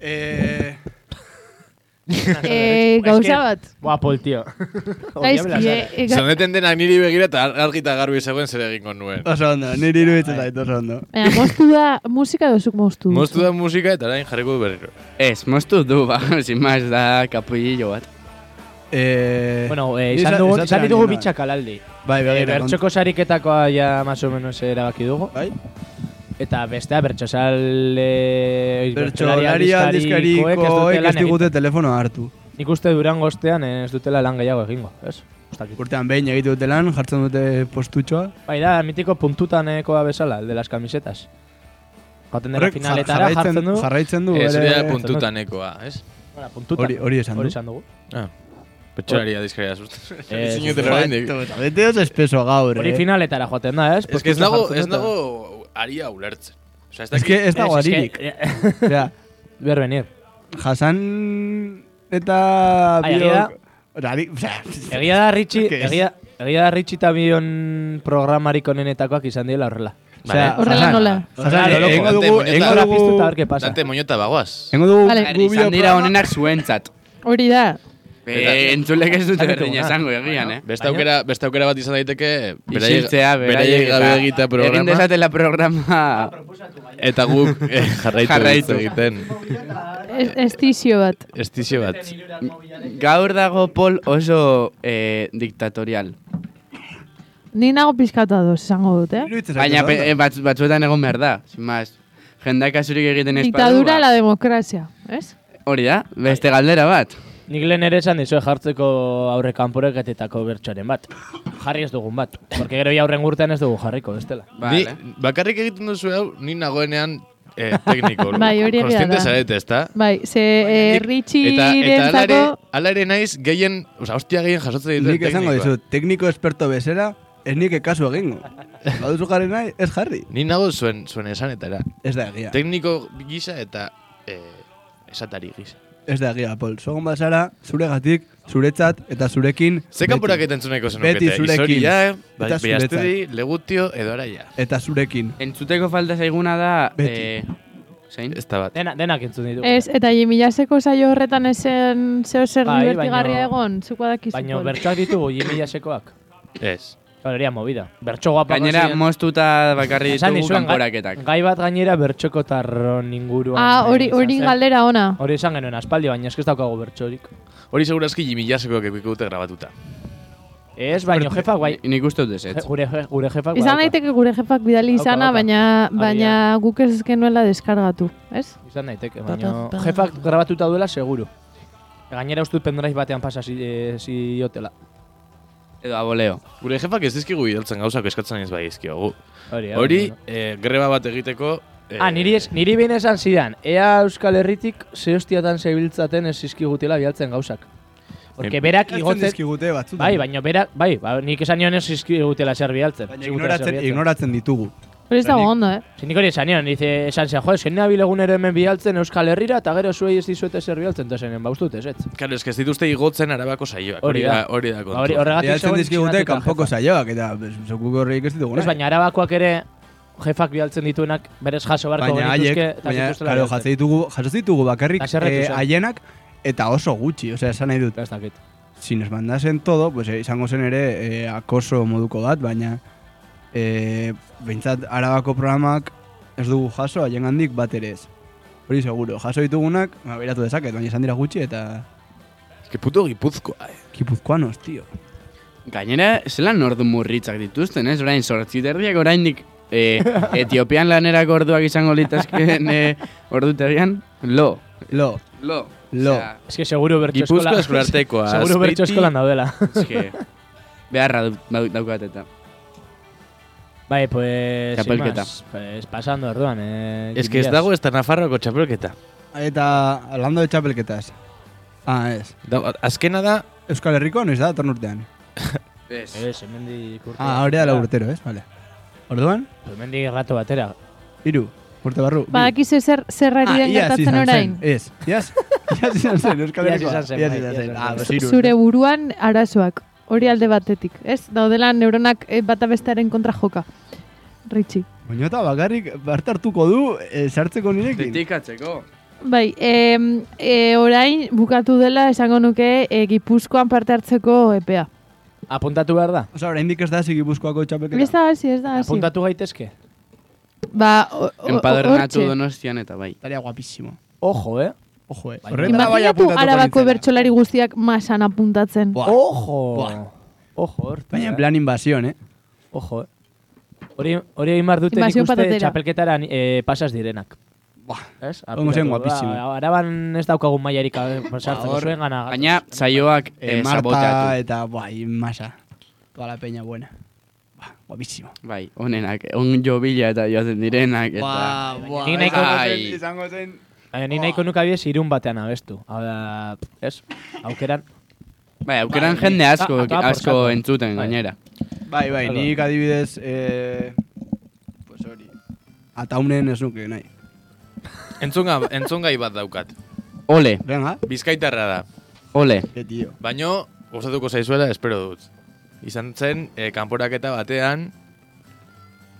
Speaker 3: Eh,
Speaker 5: Eh, gauza bat.
Speaker 4: Guapol, tío.
Speaker 5: Gaizki, eh, eh, ga-
Speaker 1: Zoneten dena niri begira eta argita garbi zegoen zer egingo nuen.
Speaker 3: oso ondo, niri iruditzen zait, oso ondo.
Speaker 5: Baina, moztu da, musika dozuk moztu.
Speaker 1: Moztu da musika eta orain jarriko du berriro.
Speaker 2: Ez, moztu du, ba, sin más da kapuillo bat.
Speaker 3: Eh,
Speaker 4: Bueno, eh,
Speaker 3: ni
Speaker 4: izan,
Speaker 3: esan-
Speaker 4: dugu,
Speaker 3: esaten
Speaker 4: izan
Speaker 3: ari
Speaker 4: ditugu
Speaker 3: nuen.
Speaker 4: bitxak alaldi.
Speaker 3: Bai,
Speaker 4: E,
Speaker 3: begira. kont-
Speaker 4: bertxoko sariketakoa ja más o menos erabaki dugu.
Speaker 3: Bai?
Speaker 4: Eta bestea bertxosal... E,
Speaker 3: Bertxolari aldizkarikoek ez digute telefonoa hartu.
Speaker 4: Nik uste durango ostean eh, ez dutela lan gehiago egingo, ez? Ez dakit.
Speaker 3: Urtean behin egite dute lan, jartzen dute postutxoa.
Speaker 4: Bai da, mitiko puntutanekoa bezala, el de las camisetas. Joaten dela
Speaker 3: Horrek
Speaker 4: finaletara jartzen du.
Speaker 3: jarraitzen du
Speaker 1: Ez
Speaker 3: Uh, bere-
Speaker 1: dira puntutanekoa, ez?
Speaker 4: Bueno, puntutan.
Speaker 3: Hori, hori esan
Speaker 4: Hori
Speaker 3: du.
Speaker 4: esan dugu.
Speaker 1: Ah. Petxolaria dizkaria zuzten.
Speaker 4: Ez,
Speaker 1: Zinuten oraindik.
Speaker 3: Eta Bete oso espeso gaur,
Speaker 4: Hori
Speaker 3: eh.
Speaker 4: finaletara joaten da, ez?
Speaker 1: Ez que ez
Speaker 4: Puntutan
Speaker 1: nago,
Speaker 4: jartzen
Speaker 1: ez
Speaker 4: dut, eta-
Speaker 1: nago aria ulertzen. Osa, ez
Speaker 3: Ez
Speaker 1: dakit.
Speaker 3: que eh, ez dago
Speaker 4: Ez, es que- eh,
Speaker 3: aririk. Osea,
Speaker 4: Berbenir.
Speaker 3: Jasan eta
Speaker 4: Ai, egia da.
Speaker 3: Ora, ari- osea,
Speaker 4: Egia da Ritxi,
Speaker 3: Ez.
Speaker 4: egia, egia da Ritxi eta bion programarik onenetakoak izan dira horrela.
Speaker 3: osea,
Speaker 5: Horrela
Speaker 3: Jasan-
Speaker 5: nola.
Speaker 3: Jasan, eh,
Speaker 1: Claro, loco,
Speaker 3: egingo
Speaker 1: dante
Speaker 3: dugu,
Speaker 1: moñeta.
Speaker 3: egingo
Speaker 4: Ahora piztu eta hor,
Speaker 3: dugu,
Speaker 4: ¿qué pasa?
Speaker 1: Dante moñota bagoaz.
Speaker 3: egingo dugu,
Speaker 5: Vale.
Speaker 3: gu
Speaker 2: Izan dira
Speaker 3: bideoprograma-
Speaker 2: honenak zuentzat.
Speaker 5: Hori da.
Speaker 2: Eh, entzulek ez dute
Speaker 4: Dakituguna.
Speaker 2: berdina esango egian, eh?
Speaker 1: Beste
Speaker 4: Baina-
Speaker 1: aukera, beste aukera bat izan daiteke beraiek-
Speaker 2: Isiltzea, beraiek
Speaker 1: beraiek gabe
Speaker 2: eta
Speaker 1: egitea
Speaker 2: Egin
Speaker 1: programa Ah,
Speaker 2: dezatela programa...
Speaker 1: eta guk eh, jarraitu,
Speaker 2: Jarraitu.
Speaker 1: egiten.
Speaker 5: Ez- Estizio bat.
Speaker 1: Estizio bat.
Speaker 2: Gaur dago Pol oso eh, diktatorial.
Speaker 5: Ni nago pizkata doz, esango dut, eh?
Speaker 3: Iruditzen zait
Speaker 2: Baina
Speaker 3: oso
Speaker 2: pe,
Speaker 3: ondo.
Speaker 2: eh, batz- batzuetan egon behar da, sin más. Jendak asurik egiten espadu.
Speaker 5: Diktadura la demokrazia, ez?
Speaker 2: Hori da, beste galdera bat.
Speaker 4: Nik lehen ere esan dizue jartzeko aurre kanporaketetako bertsoaren bat. Jarri ez dugun bat. Porque gero ja aurren urtean ez dugu jarriko, bestela.
Speaker 5: Bai.
Speaker 1: Ni,
Speaker 2: Vale.
Speaker 1: bakarrik egiten duzu hau, ni nagoenean eh, tekniko.
Speaker 5: Bai, hori egia
Speaker 1: Kontziente
Speaker 5: da.
Speaker 1: zarete, ezta?
Speaker 5: Bai, ze eh,
Speaker 1: Eta, eta ala ere,
Speaker 5: Richierentzako
Speaker 1: ala ere naiz gehien, oza, hostia gehien jasotzen ditu
Speaker 3: Nik esango dizut, tekniko esperto bezera, ez nik ekasu egingo. Baduzu jarri nahi, ez jarri.
Speaker 1: Ni nago zuen, zuen esanetara.
Speaker 3: Ez da egia.
Speaker 1: Tekniko gisa eta eh, esatari gisa.
Speaker 3: Ez da egia, Pol. Sogon bazara, zuregatik, zuretzat eta zurekin.
Speaker 1: Ze
Speaker 3: beti.
Speaker 1: kanporak entzuneko zenukete?
Speaker 3: Beti zurekin.
Speaker 1: Izoria, bai,
Speaker 3: Eta zuretzat.
Speaker 1: behazteri, legutio, edo araia.
Speaker 3: Eta zurekin.
Speaker 2: Entzuteko falta zaiguna da...
Speaker 3: Beti.
Speaker 2: Eh, zein?
Speaker 1: Ez da bat.
Speaker 4: Dena, denak entzun ditugu.
Speaker 5: Ez, eta jimilaseko saio horretan esen zeo zer
Speaker 4: Bai,
Speaker 5: divertigarria
Speaker 4: baino-
Speaker 5: egon, zuko dakizu.
Speaker 4: Baina
Speaker 5: Pol.
Speaker 4: bertsoak ditugu jimilasekoak.
Speaker 1: Ez.
Speaker 4: Galeria movida. Bertso guapa
Speaker 2: Gainera, moztuta bakarri ditugu kanporaketak.
Speaker 4: Gai bat gainera bertxoko tarron inguruan.
Speaker 5: Ah,
Speaker 4: eh,
Speaker 5: hori,
Speaker 4: izan
Speaker 5: hori
Speaker 4: zen.
Speaker 5: galdera ona.
Speaker 4: Hori esan genuen aspaldi, baina eski ez daukago bertsorik.
Speaker 1: Hori segurazki jimilasekoak ekuiko dute grabatuta.
Speaker 4: Ez, baino jefa bai. guai.
Speaker 2: Ni- Nik uste dut ez.
Speaker 4: Je- Gure, je- gure jefa guai.
Speaker 5: Izan daiteke gure jefak bidali
Speaker 4: Dauka,
Speaker 5: izana,
Speaker 4: dauka.
Speaker 5: baina,
Speaker 4: da.
Speaker 5: baina guk ez genuela deskargatu, ez?
Speaker 4: Izan daiteke, baino jefak grabatuta duela seguru. Gainera ustut pendrive batean pasa zi- eh, ziotela.
Speaker 2: Edo aboleo.
Speaker 1: Gure jefak ez dizkigu bidaltzen gauzak eskatzen ez bai dizkiogu.
Speaker 4: Hori,
Speaker 1: Hori,
Speaker 4: bueno.
Speaker 1: eh, greba bat egiteko... Eh,
Speaker 4: Ah, niri, es, niri behin esan zidan, ea Euskal Herritik ze hostiatan zebiltzaten ez zizkigutela bialtzen gauzak. Porque
Speaker 1: Em,
Speaker 4: berak
Speaker 3: Igotzen
Speaker 4: igotzen...
Speaker 3: dizkigute batzutan.
Speaker 4: Bai, baina berak, bai, ba, nik esan nion ez zizkigutela zer bialtzen.
Speaker 3: Baina
Speaker 4: zigutela zer
Speaker 3: ignoratzen,
Speaker 4: bialtzen.
Speaker 3: ignoratzen ditugu.
Speaker 5: Hori ez dago
Speaker 3: Nik-
Speaker 5: ondo, eh?
Speaker 4: Ze Nik hori esan nion, dice, esan zian, jo, esken nabil egunero hemen bialtzen Euskal Herrira, eta gero zuei ez dizuete zer bialtzen, eta zenen, baustut, "Ba, ez ez.
Speaker 1: Claro, ez que ez dituzte igotzen arabako saioak. Hori
Speaker 4: Hori
Speaker 1: da,
Speaker 4: da.
Speaker 1: hori da
Speaker 4: Ba, Hori,
Speaker 1: kontua.
Speaker 4: horregatik
Speaker 3: Bialtzen
Speaker 4: zegoen
Speaker 3: dizkigute
Speaker 4: txinatuta
Speaker 3: kanpoko
Speaker 4: jefa.
Speaker 3: saioak eta zokuk horreik ez ditugu
Speaker 4: Ez,
Speaker 3: nahi.
Speaker 4: baina arabakoak ere jefak bialtzen dituenak berez jaso beharko
Speaker 3: Baina haiek,
Speaker 4: genituzke, eta
Speaker 3: baina,
Speaker 4: zituztela
Speaker 3: claro,
Speaker 4: bialtzen.
Speaker 3: jaso ditugu, jaso ditugu bakarrik
Speaker 4: Eta zerretu
Speaker 3: eh,
Speaker 4: zen.
Speaker 3: haienak eta oso gutxi, osea, esan nahi dut.
Speaker 4: Ez dakit.
Speaker 3: Si nos mandasen todo, pues eh, izango zen ere eh, akoso moduko bat, baina eh, behintzat arabako programak ez dugu jaso haien handik bat ere ez. Hori seguro, jaso ditugunak, ba, beratu dezaket, baina izan dira gutxi eta
Speaker 1: Ez que puto gipuzkoa, eh.
Speaker 3: kipuzkoanos, tio.
Speaker 2: Gainera, zelan ordu murritzak dituzten, ez? Orain, sortziterriak oraindik eh, Etiopian lanerako orduak izango litazken eh, ordutegian. Lo.
Speaker 3: Lo,
Speaker 2: Lo.
Speaker 3: Lo.
Speaker 2: Osea,
Speaker 4: Ez que seguro bertso eskola...
Speaker 1: Gipuzkoa eskulartekoa.
Speaker 4: Seguro bertso
Speaker 1: Azpeiti-
Speaker 4: eskolan daudela.
Speaker 2: eske, beharra du- dau- daukat eta.
Speaker 4: Bai, pues... sin
Speaker 2: Txapelketa.
Speaker 4: más, Pues pasando orduan, eh...
Speaker 1: Ez que ez
Speaker 4: Jimbias.
Speaker 1: dago ez da Nafarroko txapelketa.
Speaker 3: Eta, hablando de txapelketas. Ah, ez.
Speaker 1: Da- azkena da,
Speaker 3: Euskal Herriko noiz da, tornurtean.
Speaker 2: Ez.
Speaker 4: Ez, hemendik urte...
Speaker 3: Ah, hori da lau urtero, ez? Vale. Orduan,
Speaker 4: Hemendik rato batera.
Speaker 3: hiru, urte barru. bi. Ah,
Speaker 5: Badakizu zer, zer ari den
Speaker 3: iaz
Speaker 5: gertatzen
Speaker 3: izan
Speaker 5: orain.
Speaker 3: zen, Ez, iaz, iaz izan zen, Euskal
Speaker 4: Iaz
Speaker 3: Herrikoa.
Speaker 4: izan zen, bai, iaz izan
Speaker 3: Ah,
Speaker 4: zen.
Speaker 3: pues hiru.
Speaker 5: Zure buruan arazoak, hori alde batetik, ez? Daudela neuronak eh, bata bestearen kontra joka. Ritxi.
Speaker 3: Muñota bakarrik parte hartuko du eh, sartzeko nirekin.
Speaker 2: Kritikatzeko.
Speaker 5: Bai, em, e, orain bukatu dela esango nuke e, Gipuzkoan parte hartzeko epea.
Speaker 4: Apuntatu behar da.
Speaker 3: Osa, oraindik ez da hasi Gipuzkoako txapelketa.
Speaker 5: Ez da hasi, ez da hasi.
Speaker 4: Apuntatu gaitezke.
Speaker 5: Ba, o- o-
Speaker 2: Empadernatu
Speaker 5: hortxe.
Speaker 2: donostian eta bai.
Speaker 3: Estaría guapísimo.
Speaker 4: Ojo, eh?
Speaker 3: Ojo, eh.
Speaker 5: Imaginatu arabako bertsolari guztiak masan apuntatzen.
Speaker 3: Buah.
Speaker 4: Ojo!
Speaker 3: Buah.
Speaker 4: Ojo, hortu.
Speaker 3: Baina en plan invasión, eh.
Speaker 4: Ojo, eh? Hori, hori egin behar dute nik
Speaker 5: Invasio
Speaker 4: uste
Speaker 5: patatera.
Speaker 4: txapelketara eh, pasas direnak.
Speaker 3: Buah.
Speaker 4: Ez?
Speaker 3: Ongo zen
Speaker 4: Apuratu,
Speaker 3: guapísimo.
Speaker 4: ba, Araban ez daukagun mailarik eh, pasartzeko
Speaker 3: Hor-
Speaker 4: zuen gana.
Speaker 2: Baina saioak
Speaker 3: Eh,
Speaker 2: eh,
Speaker 3: Marta
Speaker 2: saboteatu.
Speaker 3: eta bai, masa. Toda la peña buena. Ba, guapísimo.
Speaker 2: Bai, onenak, on jobila eta joaten direnak eta...
Speaker 3: buah.
Speaker 4: Nik nahiko
Speaker 3: izango
Speaker 2: bai.
Speaker 3: zen- izango zen.
Speaker 4: Baina ni nahiko nuka abiez irun batean abestu. Hau da, pff, ez? Aukeran.
Speaker 2: Bai, aukeran jende asko,
Speaker 4: Ah, ah, por
Speaker 2: asko
Speaker 4: saco.
Speaker 2: entzuten
Speaker 4: Bai.
Speaker 2: gainera.
Speaker 3: Bai, bai,
Speaker 4: Hala.
Speaker 3: nik adibidez, eh, pues hori. Ataunen ez nuke nahi.
Speaker 1: Entzunga, entzungai bat daukat.
Speaker 2: Ole,
Speaker 3: Venga,
Speaker 1: Bizkaitarra da.
Speaker 2: ole.
Speaker 3: que tío.
Speaker 1: Baino, gozatuko zaizuela espero dut. Izan zen, eh, kanporaketa batean,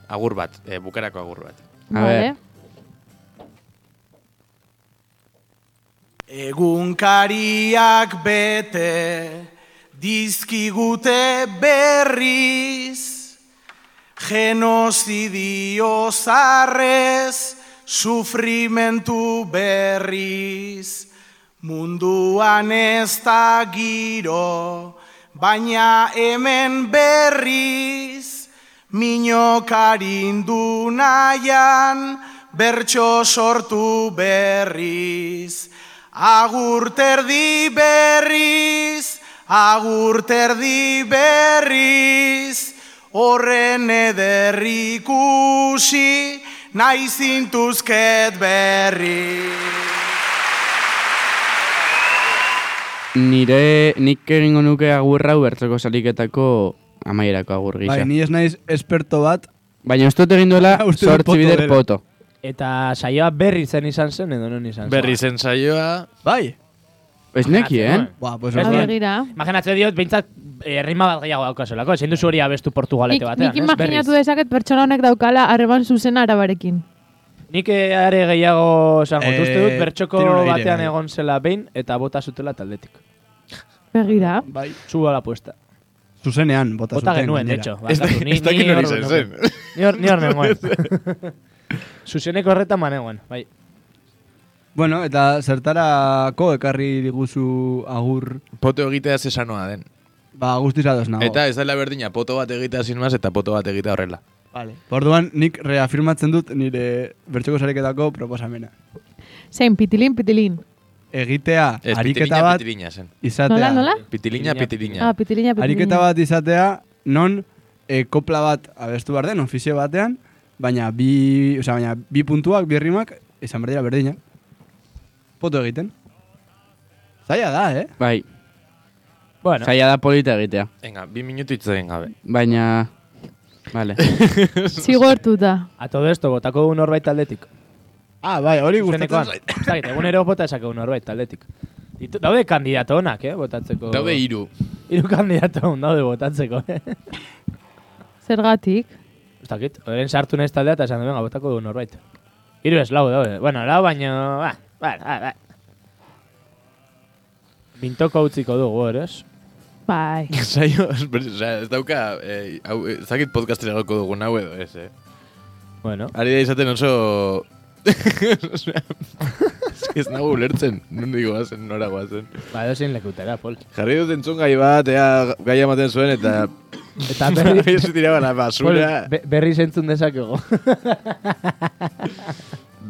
Speaker 1: agur bat, eh, bukerako agur bat.
Speaker 2: A ber.
Speaker 8: Egunkariak bete dizkigute berriz Genozidio zarrez sufrimentu berriz Munduan ez da giro baina hemen berriz Minokarindu nahian bertso sortu berriz Agurterdi berriz, agurterdi berriz, horren ederrikusi, nahi zintuzket berriz.
Speaker 2: Nire, nik egingo nuke agurrau bertzoko saliketako amaierako agur gisa.
Speaker 3: Bai, ni ez naiz esperto bat.
Speaker 2: Baina uste dut egin duela
Speaker 3: Uste dut
Speaker 2: sortzi
Speaker 3: poto
Speaker 2: bider
Speaker 3: dela.
Speaker 2: poto.
Speaker 4: Eta saioa berri zen izan zen edo non izan zen.
Speaker 1: Berri zen saioa,
Speaker 3: Bai.
Speaker 2: Ez eh?
Speaker 4: Ah, bai.
Speaker 2: nekien?
Speaker 3: Ba, pues
Speaker 4: Ez
Speaker 5: A
Speaker 3: orduan-
Speaker 4: dien.
Speaker 5: begira.
Speaker 4: Imaginatzen diot, behintzat, errima bat gehiago daukazelako. Ezin duzu hori abestu
Speaker 5: Nik,
Speaker 4: Portugalete batean,
Speaker 5: nik imaginatu
Speaker 4: berriz.
Speaker 5: dezaket pertsona honek daukala harreman zuzen arabarekin.
Speaker 4: Nik eh, are gehiago esango
Speaker 3: Eh,
Speaker 4: dut, uste dut bertxoko
Speaker 3: tiro nahi ere,
Speaker 4: batean
Speaker 3: bai.
Speaker 4: egon zela behin eta bota zutela taldetik.
Speaker 5: Begira.
Speaker 3: Bai.
Speaker 4: Suba la puesta.
Speaker 3: Zuzenean bota,
Speaker 4: Bota
Speaker 3: zuten
Speaker 4: genuen, de
Speaker 3: gainera.
Speaker 4: hecho. bai.
Speaker 1: ez, da,
Speaker 4: Barkatu, ni-
Speaker 1: ez dakit
Speaker 4: ni
Speaker 1: hori
Speaker 4: hor
Speaker 1: zen
Speaker 4: nengoen.
Speaker 1: zen.
Speaker 4: Ni hor, ni hor nengoen. Zuzeneko horretan banegoen, bai.
Speaker 3: Bueno, eta zertarako ekarri diguzu agur
Speaker 1: Poto egitea zesanoa den.
Speaker 3: Ba, guztiz ados nago.
Speaker 1: Eta ez dela berdina, poto bat egitea sin más eta poto bat egitea horrela.
Speaker 3: Vale. Orduan, nik reafirmatzen dut nire bertxoko sareketako proposamena.
Speaker 5: Zein, pitilin, pitilin.
Speaker 3: Egitea,
Speaker 1: Ez,
Speaker 3: ariketa
Speaker 1: pitiliña,
Speaker 3: bat
Speaker 1: pitiliña zen.
Speaker 3: izatea.
Speaker 5: Nola, nola?
Speaker 1: Pitiliña,
Speaker 5: Ah,
Speaker 1: pitiliña.
Speaker 5: pitilina, pitilina.
Speaker 3: Ariketa bat izatea, non e, kopla bat abestu behar den, ofizio batean, baina bi, osea, baina bi puntuak, bi rimak, izan behar dira berdina. Poto egiten. Zaila da, eh?
Speaker 2: Bai,
Speaker 4: Bueno,
Speaker 2: zaila da polita egitea.
Speaker 1: Venga, bi minutu hitz egin gabe.
Speaker 2: Baina... Vale.
Speaker 5: Zigortuta.
Speaker 4: a todo esto, botako du norbait taldetik.
Speaker 3: Ah, bai, hori gustatzen
Speaker 4: Zuzenekoan. Ez dakit, egunero bota esakegu norbait taldetik. Ditu, daude kandidato onak, eh, botatzeko.
Speaker 1: Daude hiru.
Speaker 4: Hiru kandidato on daude botatzeko, eh.
Speaker 5: Zergatik.
Speaker 4: Ez dakit, horren sartu nahiz taldea eta esan du, venga, botako du norbait. Hiru ez, lau daude. Bueno, lau baino, ba, ba, ba, ba. Bintoko utziko dugu, hor, ez?
Speaker 5: Bai.
Speaker 1: Saio, osea, ez dauka, eh, hau, ez dakit podcastera gauko dugun hau edo ez, eh?
Speaker 4: Bueno,
Speaker 1: Ari da izaten oso... Osea, ez que ez nago ulertzen, nondik goazen, nora goazen.
Speaker 4: ba, dozin lekutera, Pol.
Speaker 1: Jarri dut entzun gai bat, ea gai ematen zuen, eta...
Speaker 4: Eta berri,
Speaker 1: Ez tiraba la
Speaker 4: Pol,
Speaker 1: basura,
Speaker 4: be- berri zentzun dezakego.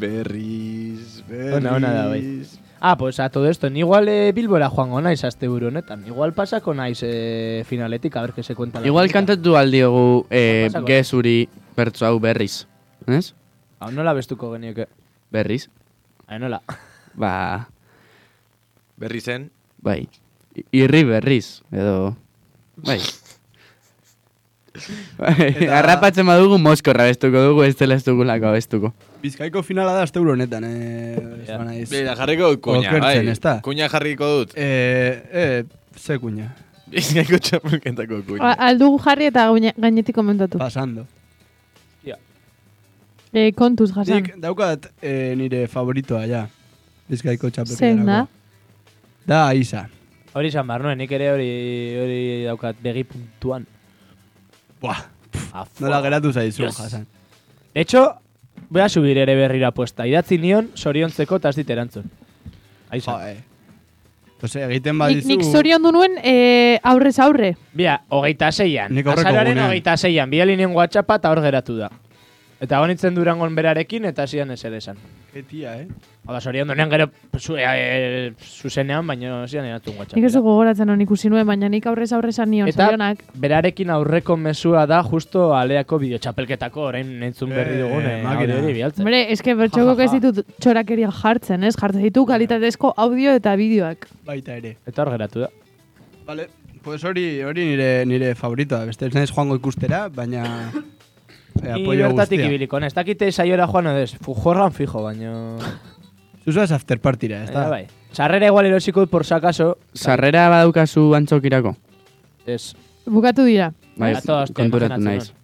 Speaker 1: berriz, berriz...
Speaker 4: Ona, ona da, bai. ah, pues a todo esto, ni igual eh, Bilbora joango naiz aste buru honetan. Igual pasako naiz eh, finaletik, a ver que se cuenta. la
Speaker 2: Igual
Speaker 4: gente.
Speaker 2: kantatu aldiogu eh,
Speaker 4: Pasako.
Speaker 2: gezuri bertso hau berriz. Ez?
Speaker 4: Hau nola bestuko genioke.
Speaker 2: Berriz.
Speaker 4: Hau nola.
Speaker 2: Ba,
Speaker 1: Berri zen,
Speaker 2: bai. I- Irri berriz, edo... Bai. Eta... Arrapatzen badugu moskorra bestuko dugu, ez dela ez dugulako bestuko.
Speaker 3: Bizkaiko finala da asteburu honetan, eh? ez banaiz.
Speaker 1: Bera, jarriko dut kuña,
Speaker 3: Okertzen,
Speaker 1: bai.
Speaker 3: ezta?
Speaker 1: Kuña jarriko dut.
Speaker 3: Eh, eh, ze kuña.
Speaker 1: Bizkaiko txapelketako
Speaker 5: A-
Speaker 1: kuña.
Speaker 5: Aldugu jarri eta gaine- gainetik komentatu.
Speaker 3: Pasando.
Speaker 5: E, kontuz jasan.
Speaker 3: Nik daukat eh, nire eh, favoritoa, ja. Bizkaiko
Speaker 5: Zein da?
Speaker 3: txapelketarako. Da, Aisa.
Speaker 4: Hori izan behar nuen, nik ere hori, hori daukat begi puntuan.
Speaker 3: Buah,
Speaker 4: A
Speaker 3: nola
Speaker 4: fuego.
Speaker 3: geratu zaizu,
Speaker 4: Dios.
Speaker 3: Hasan.
Speaker 4: De hecho, voy a subir ere berrira puesta. Idatzi nion, soriontzeko eta ez dit erantzun. Aiza.
Speaker 3: Joe. Entonces, egiten
Speaker 5: Nik,
Speaker 3: badizu...
Speaker 5: nik zorion du nuen eh, aurrez aurre.
Speaker 4: Bia, hogeita zeian.
Speaker 3: Nik aurreko
Speaker 4: Azararen
Speaker 3: gunean.
Speaker 4: hogeita zeian. Bia linien whatsappa eta hor geratu da. Eta hon nintzen durangon berarekin eta zian ez ere esan.
Speaker 3: Ke tia, eh?
Speaker 4: Hau da, sorion dunean gero zu, e, e, zuzenean, baina zian erantzun whatsapp.
Speaker 5: Nik ez du gogoratzen hon ikusi nuen, baina nik aurrez aurre esan nion
Speaker 4: Eta-
Speaker 5: zorionak.
Speaker 4: Berarekin aurreko mesua da justo aleako bideotxapelketako orain nintzun berri
Speaker 3: Eh,
Speaker 4: dugun eh,
Speaker 3: makina.
Speaker 4: audio hori bialtzen.
Speaker 5: Hombre, eske bertxokok
Speaker 4: Ja,
Speaker 5: ez
Speaker 4: ja, ja.
Speaker 5: ditut txorakeria jartzen, ez? Jartzen ditu kalitatezko audio eta bideoak.
Speaker 3: Baita ere.
Speaker 4: Eta hor geratu da.
Speaker 3: Vale, pues hori, hori nire, nire favoritoa. Beste ez naiz joango ikustera, baina... Eh,
Speaker 4: Ni
Speaker 3: apoio
Speaker 4: bertatik
Speaker 3: guztia.
Speaker 4: ibiliko, ez dakite saiora joan edo ez, fu- jorran fijo, baina...
Speaker 3: Zuzoaz after partira, ez da?
Speaker 4: Bai. Sarrera igual erosiko dut por sakaso,
Speaker 3: Bai.
Speaker 2: Sarrera badaukazu antzokirako?
Speaker 4: ez.
Speaker 5: Bukatu dira.
Speaker 2: Bai,
Speaker 4: Gato aste,
Speaker 2: konturatu
Speaker 4: imaginatzen
Speaker 2: naiz.
Speaker 4: nuen.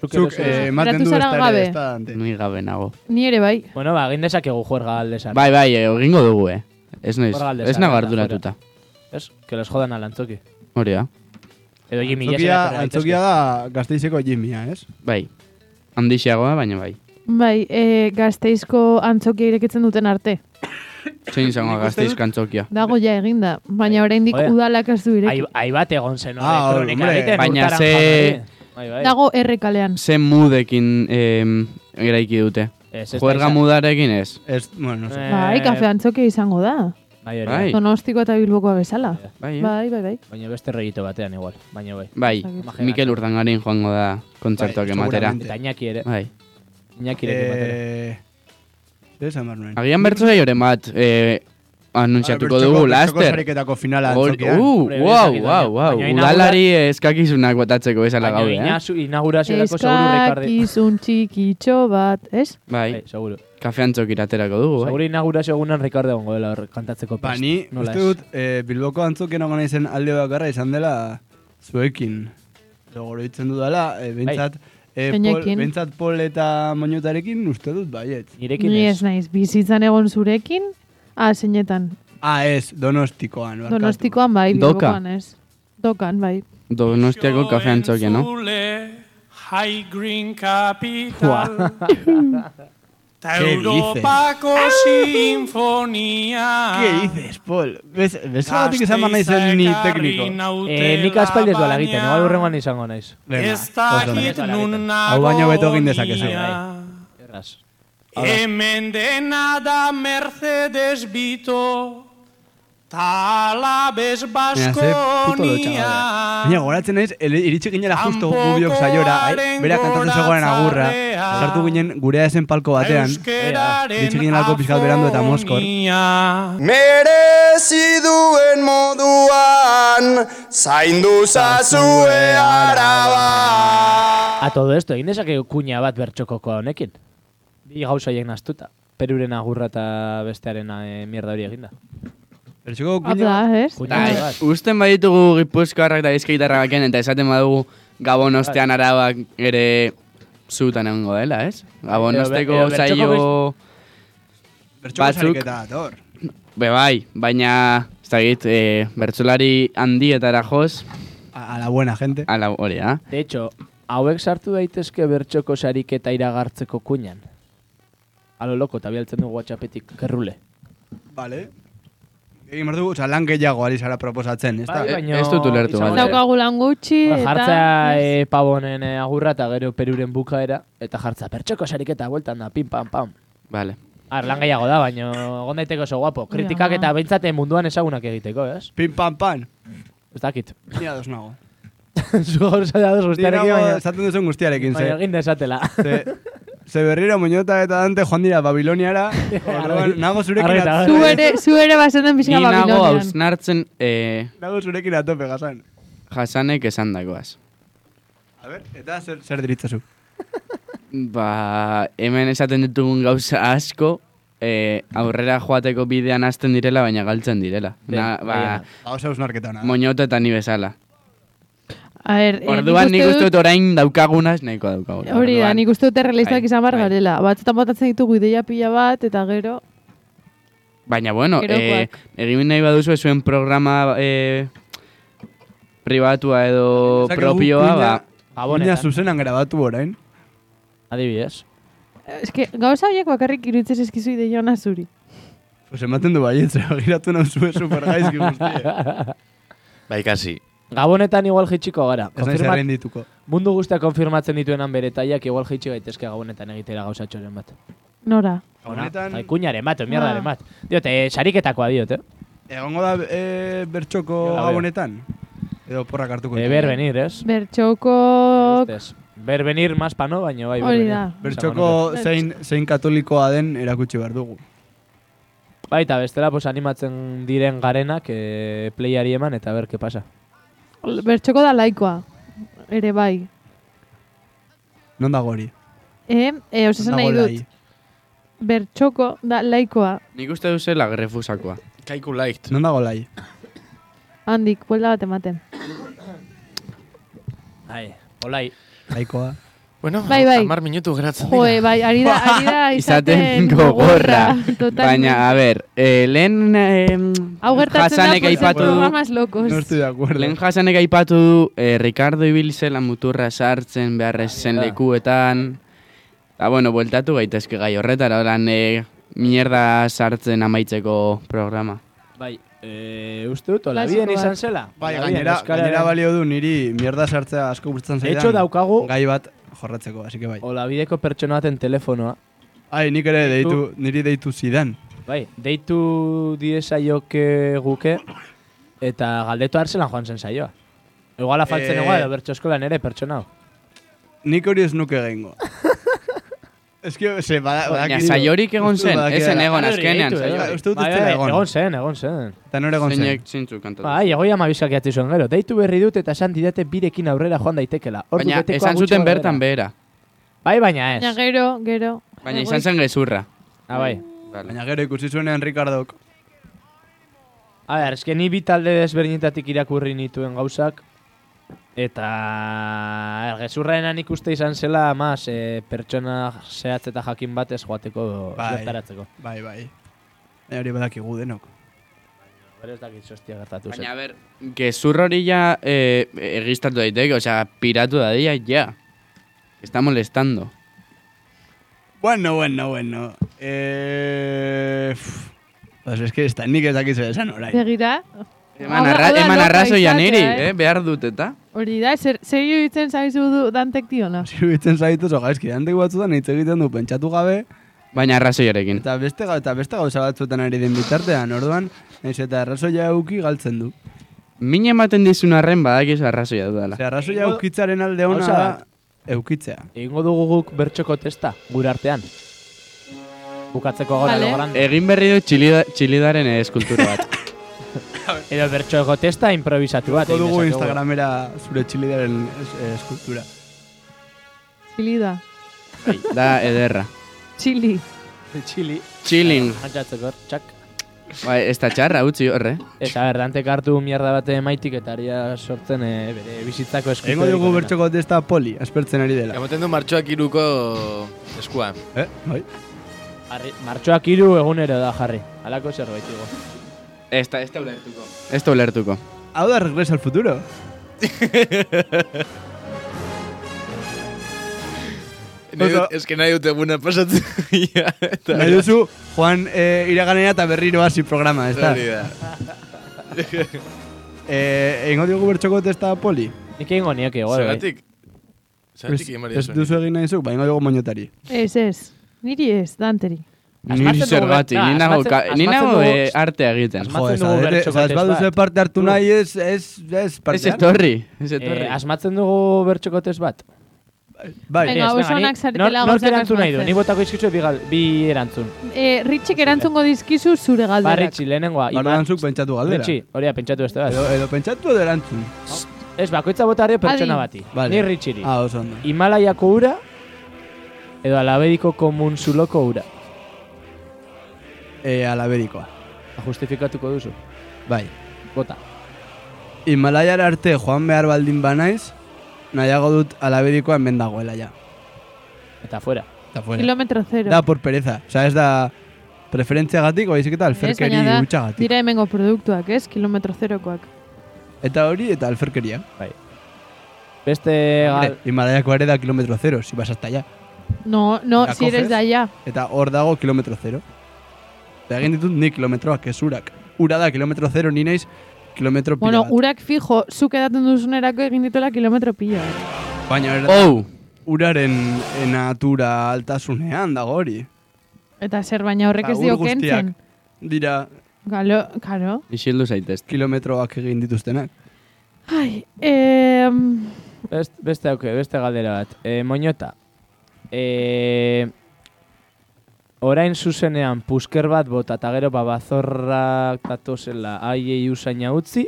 Speaker 4: Zuk
Speaker 3: Zuk,
Speaker 4: erosi duzu.
Speaker 3: eh, ematen
Speaker 5: Geratu
Speaker 3: du ez
Speaker 5: zara
Speaker 3: da ere,
Speaker 5: gabe.
Speaker 3: ez da Dante.
Speaker 2: Ni gabe nago.
Speaker 5: Ni ere bai.
Speaker 4: Bueno, ba, egin dezakegu juerga alde sarrera.
Speaker 2: Bai, bai, eh, egingo dugu, eh. Ez noiz,
Speaker 4: Hor galde
Speaker 2: ez
Speaker 4: sarrera,
Speaker 2: nago arduratuta.
Speaker 4: Ez, que los jodan al antzoki.
Speaker 2: Hori da,
Speaker 4: Edo Jimmy
Speaker 3: Antzokia, antzokia da gazteizeko jimia, ez?
Speaker 2: bai. Handixeagoa, baina bai.
Speaker 5: Bai, e, gazteizko antzokia irekitzen duten arte.
Speaker 2: Zein izango
Speaker 3: Nik uste dut-
Speaker 2: gazteizko antzokia.
Speaker 5: Dago ja eginda, baina oraindik
Speaker 4: Joder.
Speaker 5: udalak ez du ireki.
Speaker 4: Bai. Ai bat egon zen, hori,
Speaker 3: Ah, hor,
Speaker 4: kronika
Speaker 3: hombre.
Speaker 4: egiten,
Speaker 2: Baina
Speaker 4: urtaran
Speaker 2: ze-
Speaker 4: jarri. Bai, bai.
Speaker 5: Dago errekalean.
Speaker 2: Ze mudekin em, eraiki dute.
Speaker 4: Ez, ez da
Speaker 2: Juerga
Speaker 4: izan.
Speaker 2: mudarekin ez.
Speaker 3: Ez, bueno, no sé.
Speaker 4: Eh,
Speaker 5: Bai, kafe antzokia izango da.
Speaker 4: Bai, hori.
Speaker 2: Bai.
Speaker 4: Bai.
Speaker 5: Donostiko eta Bilbokoa bezala.
Speaker 2: Bai, eh?
Speaker 5: Bai, bai, bai.
Speaker 4: Baina beste regito batean igual, baina bai.
Speaker 2: bai.
Speaker 4: Imaginatzen.
Speaker 2: Mikel Urdangarin joango da kontzertuak
Speaker 3: Bai,
Speaker 2: ematera.
Speaker 3: seguramente.
Speaker 4: Eta Iñaki ere,
Speaker 2: Bai.
Speaker 4: Iñakirekin batera.
Speaker 3: Eh, zer esan behar nuen?
Speaker 2: Mm. Agian bertzo zaioren bat, eh, anuntziatuko dugu, laster.
Speaker 3: Bertxoko finala
Speaker 2: Gol,
Speaker 3: antzokian.
Speaker 2: uh,
Speaker 4: Hombre,
Speaker 2: wow,
Speaker 4: hori ez dakit,
Speaker 2: wow, wow.
Speaker 4: baina inaugura-
Speaker 2: Udalari eskakizunak botatzeko bezala
Speaker 4: Baina
Speaker 2: gaude, eh?
Speaker 4: inazu- inauguraziorako seguru Ricardi.
Speaker 5: Eskakizun txikitxo bat, ez?
Speaker 2: Bai,
Speaker 4: Bai, seguru.
Speaker 2: kafean txokiraterako dugu, bai.
Speaker 4: Seguro inaugurazio egunan Ricardo egongo dela hor kantatzeko
Speaker 3: Ba,
Speaker 4: prest.
Speaker 3: ni
Speaker 4: Nola
Speaker 3: uste
Speaker 4: ez?
Speaker 3: dut eh, Bilboko antzokien egon naizen alde bakarra izan dela zuekin. Logoroitzen dudala, eh,
Speaker 4: Bai.
Speaker 3: bintzat, eh, pol,
Speaker 5: Zeinekin?
Speaker 3: bintzat pol eta moñotarekin uste dut baiet.
Speaker 4: Nirekin
Speaker 5: Ni
Speaker 4: ez.
Speaker 5: ez naiz, bizitzan egon zurekin, ah, zeinetan.
Speaker 3: Ah, ez, donostikoan. barkatu.
Speaker 5: Donostikoan bai,
Speaker 2: Doka.
Speaker 5: Bilbokoan ez. Dokan, bai.
Speaker 2: Donostiako kafean txokia, no?
Speaker 7: High Green Capital Ta
Speaker 3: Ke dices?
Speaker 7: Europako
Speaker 4: Ah.
Speaker 7: sinfonia
Speaker 3: Ke dices, Pol? Bez, bezalatik izan behar naizen ni tekniko.
Speaker 4: Eh, nik aspaldi ez duela egiten, igual urrengoan izango naiz.
Speaker 3: Venga,
Speaker 7: Ez dakit
Speaker 3: oso ondo.
Speaker 7: nun
Speaker 3: Hau baino beto egin dezakezu.
Speaker 4: Erraz.
Speaker 7: Hemen dena da Mercedes Bito Ta alabez
Speaker 3: Baina, ze puto dotxa
Speaker 7: Baskonia
Speaker 3: gaude. Baina, goratzen naiz, ele- iritsi ginela justo gu biok saiora, ai, bera kantatzen zegoen agurra, sartu ginen gurea esen palko batean, iritsi ginelako pizkat berandu eta moskor.
Speaker 8: Merezi duen moduan zaindu zazue araba.
Speaker 4: A todo esto, egin dezake kuña bat bertxokokoa honekin. Bi gauzaiek naztuta. Peruren agurra eta bestearen eh, mierda hori eginda.
Speaker 3: Bertxoko
Speaker 5: Hau da,
Speaker 3: kuina,
Speaker 5: ez?
Speaker 4: Kuña
Speaker 2: Bai,
Speaker 4: bat.
Speaker 2: usten baditugu gipuzkoarrak da bizkaitarrak baken, eta esaten badugu
Speaker 4: Bai.
Speaker 2: Gabon ostean arabak ere zutan egongo dela, ez? Gabon
Speaker 4: Edo be-
Speaker 2: osteko
Speaker 4: edo bertxoko
Speaker 2: zaio...
Speaker 3: bertxoko
Speaker 2: batzuk.
Speaker 3: sariketa dator.
Speaker 2: Be bai, baina, ez dakit, e, bertsolari handietara joz,
Speaker 3: A, a la buena, gente.
Speaker 2: ala hori da.
Speaker 4: De hecho, hauek sartu daitezke bertxoko sariketa iragartzeko kuñan. Alo loko, eta bialtzen du whatsappetik kerrule.
Speaker 3: Vale. Egin behar dugu, oza, lan gehiago ari zara proposatzen, ez da?
Speaker 2: Bai. ez dut ulertu,
Speaker 4: izango
Speaker 2: bai.
Speaker 4: da-
Speaker 5: Daukagu lan gutxi,
Speaker 4: Ba, jartza
Speaker 5: eta...
Speaker 4: eh, pavonen eh, agurra eta gero peruren bukaera, eta jartza bertxoko sariketa bueltan da, pim, pam, pam.
Speaker 2: Vale.
Speaker 4: Ar, lan gehiago da, baino egon daiteko oso guapo. Kritikak
Speaker 5: Ja.
Speaker 4: eta behintzate munduan ezagunak egiteko, ez?
Speaker 3: Pim pam pan.
Speaker 4: Ez dakit.
Speaker 3: Ni ados nago.
Speaker 4: Zu gauza da dos
Speaker 3: Ni
Speaker 4: guztiarekin,
Speaker 3: nago
Speaker 4: baina...
Speaker 3: esaten duzun guztiarekin,
Speaker 2: Bai,
Speaker 4: Baina
Speaker 3: ze.
Speaker 4: egin desatela.
Speaker 3: Ze, ze berriro muñota eta dante joan dira Babiloniara, orduan, nago zurekin
Speaker 4: Argi eta
Speaker 3: at-
Speaker 5: Zu ere, zu ere bazaten
Speaker 2: Ni
Speaker 5: pixka
Speaker 2: nago
Speaker 5: Babilonian.
Speaker 2: hausnartzen e,
Speaker 3: nago zurekin atope gazan.
Speaker 2: jasanek esan dagoaz.
Speaker 3: A ber, eta zer, zer diritzazu?
Speaker 2: Ba, hemen esaten ditugun gauza asko, e, aurrera joateko bidean hasten direla, baina galtzen direla.
Speaker 4: Ben,
Speaker 2: Na, ba,
Speaker 4: agian.
Speaker 3: Hau zauz narketa hona.
Speaker 2: moñoto eta ni bezala.
Speaker 5: A ber, eh,
Speaker 2: Orduan nik uste dut orain daukagunaz nahiko daukaguna.
Speaker 5: Hori da,
Speaker 2: Orduan,
Speaker 5: nik uste dut errealistak
Speaker 2: Bai,
Speaker 5: izan bar
Speaker 2: bai.
Speaker 5: garela. Batzutan botatzen ditugu ideia pila bat, eta gero...
Speaker 2: Baina, bueno, eh,
Speaker 5: Gerokoak.
Speaker 2: egin nahi baduzu zuen programa eh, pribatua edo
Speaker 3: Dezakegu
Speaker 2: propioa, ba,
Speaker 3: kuina- Baina
Speaker 4: Gabonetan.
Speaker 3: zuzenan grabatu orain.
Speaker 4: Adibidez.
Speaker 5: eh, Eske, gauza horiek bakarrik iruditzen eskizu ideiona zuri.
Speaker 3: Pues ematen du baietz, giratu nauzue supergaizki guztia.
Speaker 5: Ba-
Speaker 1: Bai, kasi.
Speaker 4: Gabonetan igual jitsiko gara.
Speaker 3: Ez naiz
Speaker 4: Konfirma-
Speaker 3: errendituko.
Speaker 4: mundu guztia konfirmatzen dituenan bere taiak igual jitsi gaitezke gabonetan egitera gauzatxoren bat.
Speaker 5: Nora.
Speaker 2: ba,
Speaker 3: Honetan,
Speaker 4: Zaikuñaren bat, oinbiardaren
Speaker 5: Ah.
Speaker 4: bat. Diot, eh, sariketakoa diot, eh?
Speaker 3: egongo da e, bertxoko
Speaker 4: Jola, bera.
Speaker 3: gabonetan. Edo porrak hartuko.
Speaker 4: De
Speaker 3: ditu.
Speaker 4: berbenir, Eh, ez?
Speaker 5: Bertxoko...
Speaker 4: Ustez. Berbenir más pano, baino bai.
Speaker 5: Hori
Speaker 4: berbenir.
Speaker 5: da.
Speaker 3: Bertxoko
Speaker 5: Bertxo.
Speaker 3: zein, zein katolikoa den erakutsi behar dugu.
Speaker 4: Baita, bestela pues, animatzen diren garenak eh, playari eman eta ber, ke pasa.
Speaker 5: Bertxoko da laikoa. Ere bai.
Speaker 3: Non dago hori?
Speaker 5: E, e osasun
Speaker 3: Non dago
Speaker 5: nahi
Speaker 3: lai?
Speaker 5: dut. Bertxoko da laikoa.
Speaker 2: nik uste duzela grefusakoa.
Speaker 1: Kaiku light.
Speaker 3: Non dago lai?
Speaker 5: Handik, buelda bat ematen.
Speaker 4: Ai, olai.
Speaker 3: Laikoa.
Speaker 1: Bueno,
Speaker 5: Bai, bai.
Speaker 1: amar minutu geratzen dira.
Speaker 5: Joe, bai, ari da, ari da
Speaker 2: Izaten
Speaker 5: izaten
Speaker 2: gogorra.
Speaker 5: Totalmente.
Speaker 2: Baina, a ber, eh, lehen eh,
Speaker 5: Hau gertatzen da,
Speaker 2: jasanek
Speaker 5: por ser
Speaker 2: aipatu du,
Speaker 5: programas locos.
Speaker 3: No estoy de acuerdo.
Speaker 2: lehen jasanek aipatu du, eh, Ricardo ibilzela muturra sartzen beharrez zen
Speaker 4: da.
Speaker 2: lekuetan. Eta, bueno, bueltatu gaitezke gai horretara, lan eh, mierda sartzen amaitzeko programa.
Speaker 4: Bai, eh, uste
Speaker 2: Bai,
Speaker 4: dut,
Speaker 5: Klasikoa.
Speaker 4: olabien izan zela.
Speaker 3: Bai,
Speaker 4: Olabien,
Speaker 3: gainera,
Speaker 4: Euskararen-
Speaker 3: gainera balio du niri mierda sartzea asko gustatzen
Speaker 4: De
Speaker 3: zaidan.
Speaker 4: hecho, daukagu-
Speaker 3: Gai bat jorratzeko, así que bai.
Speaker 4: Olabideko pertsona baten telefonoa.
Speaker 3: Ai, nik ere deitu, niri deitu zidan.
Speaker 4: Bai, deitu diezaioke guke eta galdetu hartzelan joan zen saioa. Iguala faltzen
Speaker 3: Eh.
Speaker 4: egoa edo bertso eskolan ere pertsona hau.
Speaker 3: Nik hori ez nuke gengo. ez que, ze, bada...
Speaker 2: Baina
Speaker 3: badaki-
Speaker 2: saiorik egon
Speaker 3: Uste dut
Speaker 2: zen,
Speaker 3: badaki-
Speaker 2: ez zen egon
Speaker 4: Hori
Speaker 2: azkenean.
Speaker 4: deitu, eh?
Speaker 2: saiorik.
Speaker 3: Uste dut
Speaker 4: Bai,
Speaker 3: ez dela
Speaker 4: bai,
Speaker 3: egon.
Speaker 4: Egon zen, egon zen.
Speaker 3: Eta nore egon zen.
Speaker 2: Zeinek zintzu kantatu.
Speaker 4: Bai, egoia amabizkak jatzi zuen gero. Deitu berri dut eta esan didate birekin aurrera joan daitekela. Ordu
Speaker 2: Baina,
Speaker 4: betekoa
Speaker 2: esan
Speaker 4: gutxi
Speaker 2: zuten
Speaker 4: gora
Speaker 2: bertan
Speaker 4: behera.
Speaker 2: behera.
Speaker 4: Bai, baina
Speaker 5: Baina
Speaker 4: ez.
Speaker 5: gero, gero.
Speaker 2: Baina
Speaker 5: Egoitza.
Speaker 2: izan zen gezurra.
Speaker 4: Ah, bai.
Speaker 3: Baina gero ikusi zuenean Ricardok.
Speaker 4: A ber, eske ni bi talde desberdinetatik irakurri nituen gauzak. Eta er, gezurraenan ikuste izan zela mas e, pertsona zehatz eta jakin bat ez joateko
Speaker 3: Bai.
Speaker 4: bertaratzeko.
Speaker 3: Bai, bai. Baina hori badakigu denok.
Speaker 4: Bero ez dakit zostia gertatu zen.
Speaker 2: Baina, a ber, gezur hori ja eh, egiztatu daiteke, osea, piratu da dia, ja. Está molestando.
Speaker 3: Bueno, bueno, bueno. Eh... pff. Pues es que esta nik ez dakit zer esan orain.
Speaker 5: Begira.
Speaker 2: Eman,
Speaker 5: Hau da-
Speaker 2: arra,
Speaker 5: hau da
Speaker 2: eman
Speaker 5: loka
Speaker 2: arrazoia
Speaker 5: izatea,
Speaker 2: niri,
Speaker 5: eh?
Speaker 2: eh? behar dut, eta?
Speaker 5: Hori da, zer, zer iruditzen zaizu du dantek diona?
Speaker 3: Ziruditzen zaitu zo gaizki, handik batzutan hitz egiten du pentsatu gabe,
Speaker 2: Baina arrazoiarekin.
Speaker 3: eta beste, ga- eta beste gauza batzutan ari den bitartean, orduan, nahiz eta arrazoia euki galtzen du.
Speaker 2: Min ematen dizun arren badakiz arrazoia dudala.
Speaker 3: Ze arrazoia eukitzaren alde ona
Speaker 4: Gauza
Speaker 3: da,
Speaker 4: bat.
Speaker 3: eukitzea.
Speaker 4: Egingo dugu guk bertxoko testa, gure artean. Bukatzeko gora
Speaker 5: Vale.
Speaker 4: lo grande.
Speaker 2: Egin berri dut txilida, txilidaren eskultura bat.
Speaker 4: Edo bertxoko testa improvisatu bat.
Speaker 3: Ko
Speaker 4: egin
Speaker 3: dugu
Speaker 4: dezakegu.
Speaker 3: Instagramera zure txilidaren es- eh, eskultura.
Speaker 5: Txilida.
Speaker 2: Bai, da ederra.
Speaker 5: Txili.
Speaker 4: Txili.
Speaker 2: Chilling.
Speaker 4: Antzatzeko, txak.
Speaker 2: Bai, ez da txarra utzi eh? horre.
Speaker 4: Eta berdantek hartu mierda bate maitik eta ari da sortzen eh, bere bizitzako eskutu.
Speaker 3: Egingo dugu bertxoko testa poli, aspertzen ari dela.
Speaker 1: Emoten du martxoak iruko eskua.
Speaker 3: Eh? Bai.
Speaker 4: Martxoak iru egunero da jarri. Halako zerbait igo.
Speaker 2: Ez da, ez da ulertuko. Ez da ulertuko.
Speaker 3: Hau da regreso al futuro.
Speaker 1: Nahi
Speaker 3: Oso-
Speaker 1: dut- Ez que nahi dut eguna pasatzen. Ja, eta-
Speaker 3: Nahi duzu, Juan eh, iraganera eta berriro hasi programa, ez da?
Speaker 1: Hori da.
Speaker 3: Eh, Egingo dugu bertxoko testa poli?
Speaker 4: Nik egingo nieke, igual. bai.
Speaker 1: Zeratik? Zeratik egin
Speaker 3: Ez duzu egin nahi zu, ba, ingo dugu moñotari.
Speaker 5: Ez, ez. Niri ez, danteri.
Speaker 4: Asmatzen
Speaker 2: Niri
Speaker 4: dugu
Speaker 2: zergatik,
Speaker 4: bera-
Speaker 2: ni
Speaker 4: da,
Speaker 2: nago,
Speaker 4: asmatzen-
Speaker 2: ka- ni
Speaker 4: asmatzen
Speaker 2: nago
Speaker 4: dugu-
Speaker 2: eh, artea egiten.
Speaker 4: Asmatzen dugu bertxoko
Speaker 3: ez
Speaker 4: test
Speaker 3: baduzu
Speaker 4: bat.
Speaker 3: parte hartu nahi, ez, ez, ez, parte
Speaker 2: Ez etorri, ez etorri.
Speaker 4: Eh, asmatzen dugu bertxoko test bat.
Speaker 3: Bai,
Speaker 5: Venga,
Speaker 4: Ez,
Speaker 5: oso
Speaker 4: venga, ni-
Speaker 5: onak zaretela
Speaker 4: nor- Nork
Speaker 5: gauzak
Speaker 4: erantzun nahi du,
Speaker 5: asmatzen.
Speaker 4: ni botako izkitzu bi, gal- bi erantzun.
Speaker 5: E, Ritxik erantzungo dizkizu zure galderak.
Speaker 4: Barritxi, lehenengoa.
Speaker 3: orduan
Speaker 4: Iman-
Speaker 3: zuk pentsatu galdera.
Speaker 4: Ritxi, hori da, pentsatu beste bat.
Speaker 3: Edo, edo pentsatu edo erantzun.
Speaker 4: Ez, bakoitza botario pertsona
Speaker 5: Adi.
Speaker 4: bati.
Speaker 3: Vale.
Speaker 4: Ni Richiri.
Speaker 3: Ah, oso ondo.
Speaker 4: Himalaiako ura edo alabediko komunzuloko ura.
Speaker 3: E, alaberikoa.
Speaker 4: Justifikatuko duzu.
Speaker 3: Bai.
Speaker 4: Bota.
Speaker 3: Himalaiar arte joan behar baldin banaiz, nahiago dut alaberikoa hemen dagoela ja.
Speaker 4: Eta fuera.
Speaker 3: Eta fuera.
Speaker 5: Kilometro zero.
Speaker 3: Da por pereza. Osa, ez da preferentziagatik, baizik eta
Speaker 5: Ez,
Speaker 3: alferkeri
Speaker 5: Bai, baina da,
Speaker 3: hutxagatik.
Speaker 5: dira hemengo produktuak, ez? Kilometro zerokoak.
Speaker 3: Eta hori eta alferkeria.
Speaker 4: Bai. Beste gal...
Speaker 3: Hombre, Himalayako are da kilometro zero, si vas hasta allá.
Speaker 5: No, no,
Speaker 3: La
Speaker 5: si
Speaker 3: coges.
Speaker 5: eres de allá.
Speaker 3: Eta hor dago kilometro zero. Eta egin ditut ni kilometroak, ez urak. Ura da kilometro zero, ni naiz kilometro pila
Speaker 5: Bueno,
Speaker 3: bat.
Speaker 5: urak fijo, zuk edaten duzunerako egin dituela kilometro pila. bat.
Speaker 3: Baina er,
Speaker 2: Oh!
Speaker 3: uraren natura altasunean dago hori.
Speaker 5: Eta zer, baina horrek ez
Speaker 3: Eta
Speaker 5: dio
Speaker 3: Ba, ur guztiak
Speaker 5: kentzen.
Speaker 3: Dira
Speaker 5: Galo, karo.
Speaker 2: Isildu zaitez.
Speaker 3: kilometroak egin dituztenak.
Speaker 5: Ai, eh,
Speaker 4: Best, beste auke, beste galdera bat. E, moñota. E, orain zuzenean pusker bat bota eta gero babazorrak datozela aiei usaina utzi.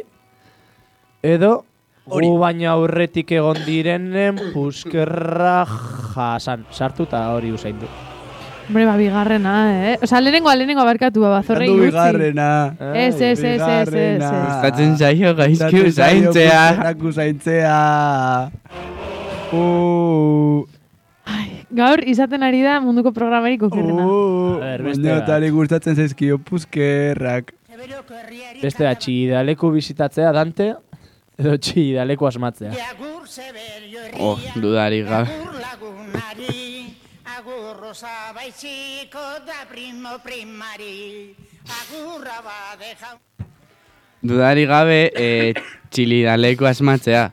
Speaker 4: Edo Hori. baina aurretik egon direnen puskerra jasan. Sartu eta hori usain du.
Speaker 5: hombre, ba, bigarrena, eh? Osa, lehenengoa, lehenengoa barkatu, ba, bazorrei
Speaker 3: Landu
Speaker 5: utzi.
Speaker 3: bigarrena. eh,
Speaker 5: Ez, ez, ez, ez, ez, ez.
Speaker 3: bigarrena.
Speaker 2: Gustatzen zaio ba, gaizki
Speaker 3: Gustatzen zaio
Speaker 2: usaintzea.
Speaker 3: puskerrak usaintzea. Uh,
Speaker 5: Gaur, izaten ari da munduko programarik okerrena.
Speaker 3: uh,
Speaker 4: A ver, beste
Speaker 3: baina
Speaker 4: bat.
Speaker 3: tali gustatzen zaizkio puskerrak.
Speaker 4: Beste da, txigidaleku bizitatzea Dante, edo txigidaleku asmatzea.
Speaker 2: Oh, dudari gabe. Dudari gabe, eh, txilidaleko asmatzea.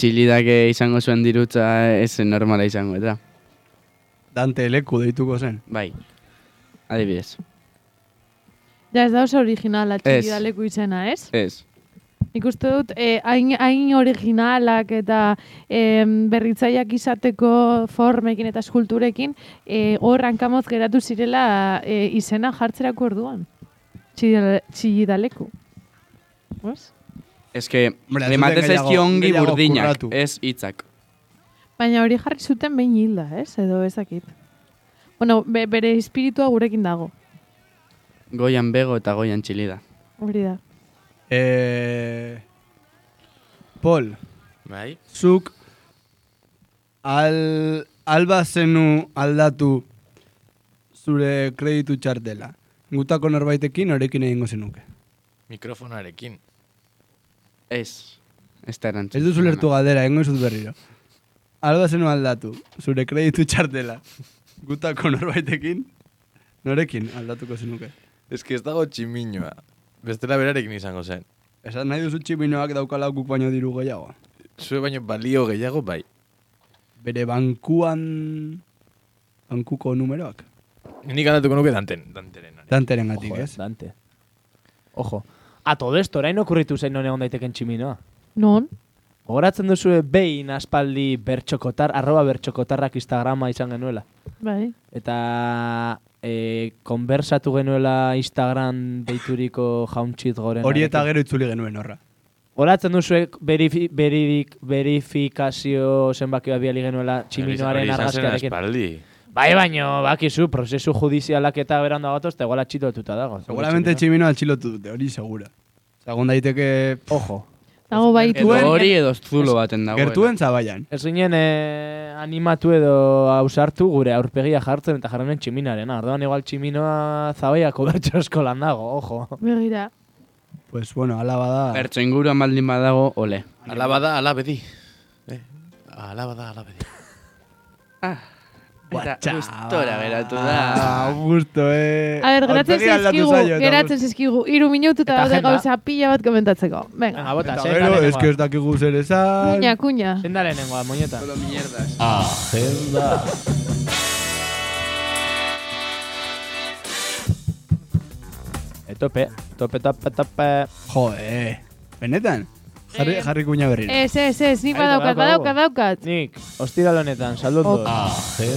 Speaker 2: Txilidake izango zuen dirutza ez zen normala izango, eta.
Speaker 3: Dante leku deituko zen.
Speaker 2: Bai. Adibidez.
Speaker 5: Ja, ez da oso originala,
Speaker 2: Ez.
Speaker 5: txigidaleku izena, ez?
Speaker 2: Ez.
Speaker 5: Nik uste dut, eh, hain, hain originalak eta eh, berritzaiak izateko formekin eta eskulturekin, eh, hor hankamoz geratu zirela eh, izena jartzerako orduan. Txigidale- Txigidaleku. Oz?
Speaker 2: Ez que,
Speaker 3: Hombre, ez
Speaker 2: ematen
Speaker 3: dute gehiago-
Speaker 2: zaizki ongi
Speaker 3: gehiago
Speaker 2: burdinak,
Speaker 3: kurratu.
Speaker 2: ez hitzak.
Speaker 5: Baina hori jarri zuten behin hilda, ez? Edo ezakit. Bueno, be, bere espiritua gurekin dago.
Speaker 2: Goian bego eta goian txilida.
Speaker 5: Hori da.
Speaker 3: Eh, Paul,
Speaker 1: Bai?
Speaker 3: zuk al, alba zenu aldatu zure kreditu txartela. Gutako norbaitekin horrekin egingo zenuke.
Speaker 1: Mikrofonarekin.
Speaker 2: Ez. Ez da erantzun.
Speaker 3: Ez duzu lertu galdera, egingo dizut berriro. Alba zenu aldatu zure kreditu txartela. Gutako norbaitekin norekin aldatuko zenuke.
Speaker 1: Ez que ez dago tximinoa. Bestela berarekin izango zen.
Speaker 3: Esan nahi duzu tximinoak daukala guk baino diru gehiago.
Speaker 1: Zue baino balio gehiago bai.
Speaker 3: Bere bankuan... Bankuko numeroak.
Speaker 1: Nik aldatuko nuke danten, danteren.
Speaker 3: Danteren gatik,
Speaker 4: Joder,
Speaker 3: ez?
Speaker 4: Dante. Ojo. A todo esto, orain okurritu zain non egon daiteken tximinoa.
Speaker 5: Non?
Speaker 4: Gogoratzen duzu behin aspaldi bertxokotar, arroba bertxokotarrak Instagrama izan genuela.
Speaker 5: Bai.
Speaker 4: Eta e, konversatu genuela Instagram deituriko jauntxit goren.
Speaker 3: Hori eta gero itzuli genuen horra.
Speaker 4: Horatzen duzu berifi, beridik, verifikazio zenbakioa biali genuela tximinoaren argazkiarekin.
Speaker 1: Espaldi.
Speaker 4: Bai, baino, bakizu, prozesu judizialak eta beranda gatoz, eta igual atxitotuta dago.
Speaker 3: Seguramente tximino atxilotu dute, hori segura. Segun daiteke
Speaker 4: Ojo.
Speaker 5: Dago baitu. eh?
Speaker 2: Edo hori edo zulo baten dago.
Speaker 3: gertuen zabaian.
Speaker 4: Ez ginen eh, animatu edo ausartu gure aurpegia jartzen eta jarrenen tximinaren. Orduan igual tximinoa zabaiako bertso eskolan dago, ojo.
Speaker 5: Begira.
Speaker 3: Pues bueno, ala bada.
Speaker 2: Bertso inguruan baldin badago, ole.
Speaker 1: Alaba
Speaker 3: ba-
Speaker 1: da, alaba di. Eh? Alaba da, alaba di.
Speaker 2: Eta gustora geratu da.
Speaker 3: Ah, gusto, eh.
Speaker 5: A ber, geratzen
Speaker 3: Aurpegia aldatu
Speaker 5: zaizkigu,
Speaker 3: zaio, eta
Speaker 5: geratzen zaizkigu, iru minutu
Speaker 4: Eta
Speaker 5: eta daude
Speaker 4: agenda.
Speaker 5: gauza pila bat komentatzeko. Venga,
Speaker 4: Venga, bota,
Speaker 3: Eta
Speaker 4: zein da
Speaker 3: gero,
Speaker 4: lehenengoa?
Speaker 3: eske ez dakigu zer esan.
Speaker 5: kuña, kuña.
Speaker 4: Zein da lehenengoa, moñeta? Etope, tope, tope, tope.
Speaker 3: Jo, eh. Benetan? Jarri,
Speaker 5: Eh,
Speaker 3: jarri kuña berri.
Speaker 5: Ez, ez, ez, nik
Speaker 4: Ai,
Speaker 5: badaukat,
Speaker 4: badaukagu.
Speaker 5: badaukat, badaukat.
Speaker 4: Nik, ostiral honetan, saldotu.
Speaker 5: Ez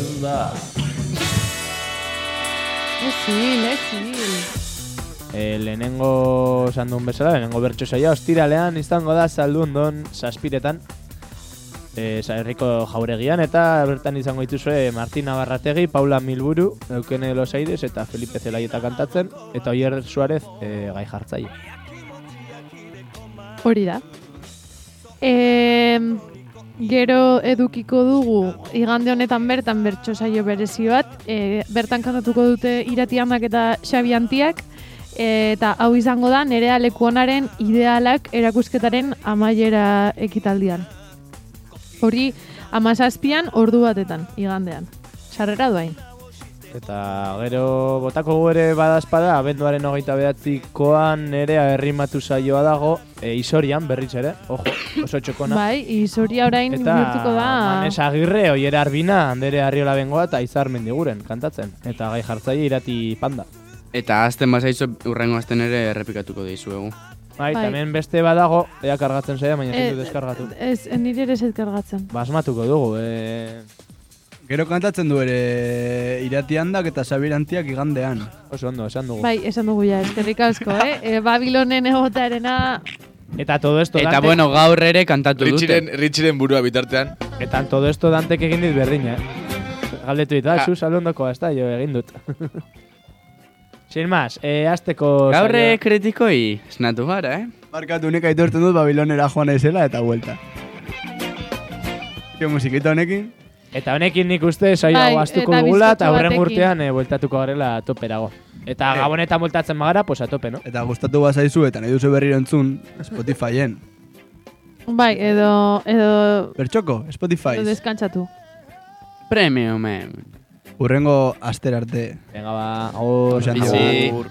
Speaker 5: zil, ez zil.
Speaker 4: Eh, lehenengo sandun bezala, lehenengo bertso saioa ostiralean izango da Zaldundon saspiretan. Eh, herriko jauregian eta bertan izango dituzue Martina Barrategi, Paula Milburu, Eukene de los Aires eta Felipe Zelaieta kantatzen eta Oier Suárez eh, gai jartzaile.
Speaker 5: Hori da. Eh, Gero edukiko dugu igande honetan bertan bertso saio berezi bat, e, bertan kantatuko dute iratiamak eta Xabi Antiak, e, eta hau izango da nerea lekuonaren idealak erakusketaren amaiera ekitaldian. Hori, amazazpian ordu batetan, igandean. Sarrera duain.
Speaker 4: Eta gero botako gu ere badazpada, abenduaren hogeita behatzikoan nere herrimatu saioa dago, e, isorian berriz ere, ojo, oso txokona.
Speaker 5: Bai, izoria orain
Speaker 4: Eta
Speaker 5: bihurtuko da...
Speaker 4: Manes Agirre, Oier Arbina, Andere Arriola Bengoa eta Izar Mendiguren kantatzen. Eta gai jartzaile irati panda.
Speaker 2: Eta azten bazaizu, urrengo azten ere errepikatuko dizuegu.
Speaker 4: Bai,
Speaker 5: Bai.
Speaker 4: bai. hemen beste badago, ea kargatzen zaia, baina ez
Speaker 5: Eh,
Speaker 4: dut deskargatu.
Speaker 5: Ez, nire ere zetkargatzen.
Speaker 4: Basmatuko dugu, e...
Speaker 3: Gero kantatzen du ere iratiandak eta sabirantiak igandean.
Speaker 4: oso ondo, esan dugu.
Speaker 5: Bai, esan dugu ja, eskerrik asko, eh? E, Babilonen egotarena
Speaker 4: Eta todo esto
Speaker 2: Eta
Speaker 4: Dante,
Speaker 2: bueno, gaur ere kantatu
Speaker 1: Ritxiren,
Speaker 2: dute.
Speaker 1: Ritxiren burua bitartean.
Speaker 4: eta todo esto Dantek egin dit berdina, eh? Galdetu dit, ah, zu salondokoa, ez da, jo egin dut. Sin más, e, azteko...
Speaker 2: Gaur
Speaker 4: saioa.
Speaker 2: ere kritikoi, esnatu gara, eh?
Speaker 3: Barkatu nik aitortzen dut Babilonera joan naizela eta buelta. Ke musikita honekin?
Speaker 4: Eta honekin nik uste saio
Speaker 5: Bai,
Speaker 4: hau astuko
Speaker 5: eta
Speaker 4: dugula eta
Speaker 5: bizkotxo
Speaker 4: aurren
Speaker 5: batekin.
Speaker 4: urtean e, bueltatuko garela toperago. Eta gabonetan bueltatzen bagara, pues a tope, no?
Speaker 3: Eta gustatu bazaizu eta nahi duzu berriro entzun Spotifyen.
Speaker 5: Bai, edo, edo,
Speaker 3: Bertxoko, Spotify.
Speaker 4: Bai.
Speaker 5: edo deskantzatu.
Speaker 2: Premio, men.
Speaker 3: Urrengo aster arte.
Speaker 4: Venga, ba, agur.
Speaker 3: Osa,
Speaker 2: Bizi.
Speaker 1: Agur.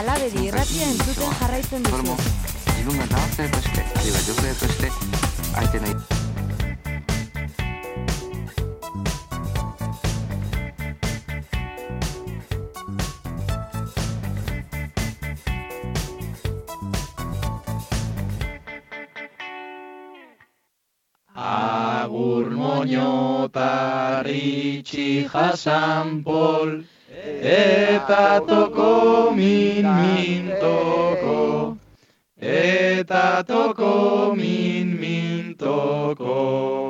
Speaker 10: Alabedi irratia entzuten jarraitzen duzu.
Speaker 7: Agur moño tarritxi jasan pol, eta toko min min toko, eta toko min min toko.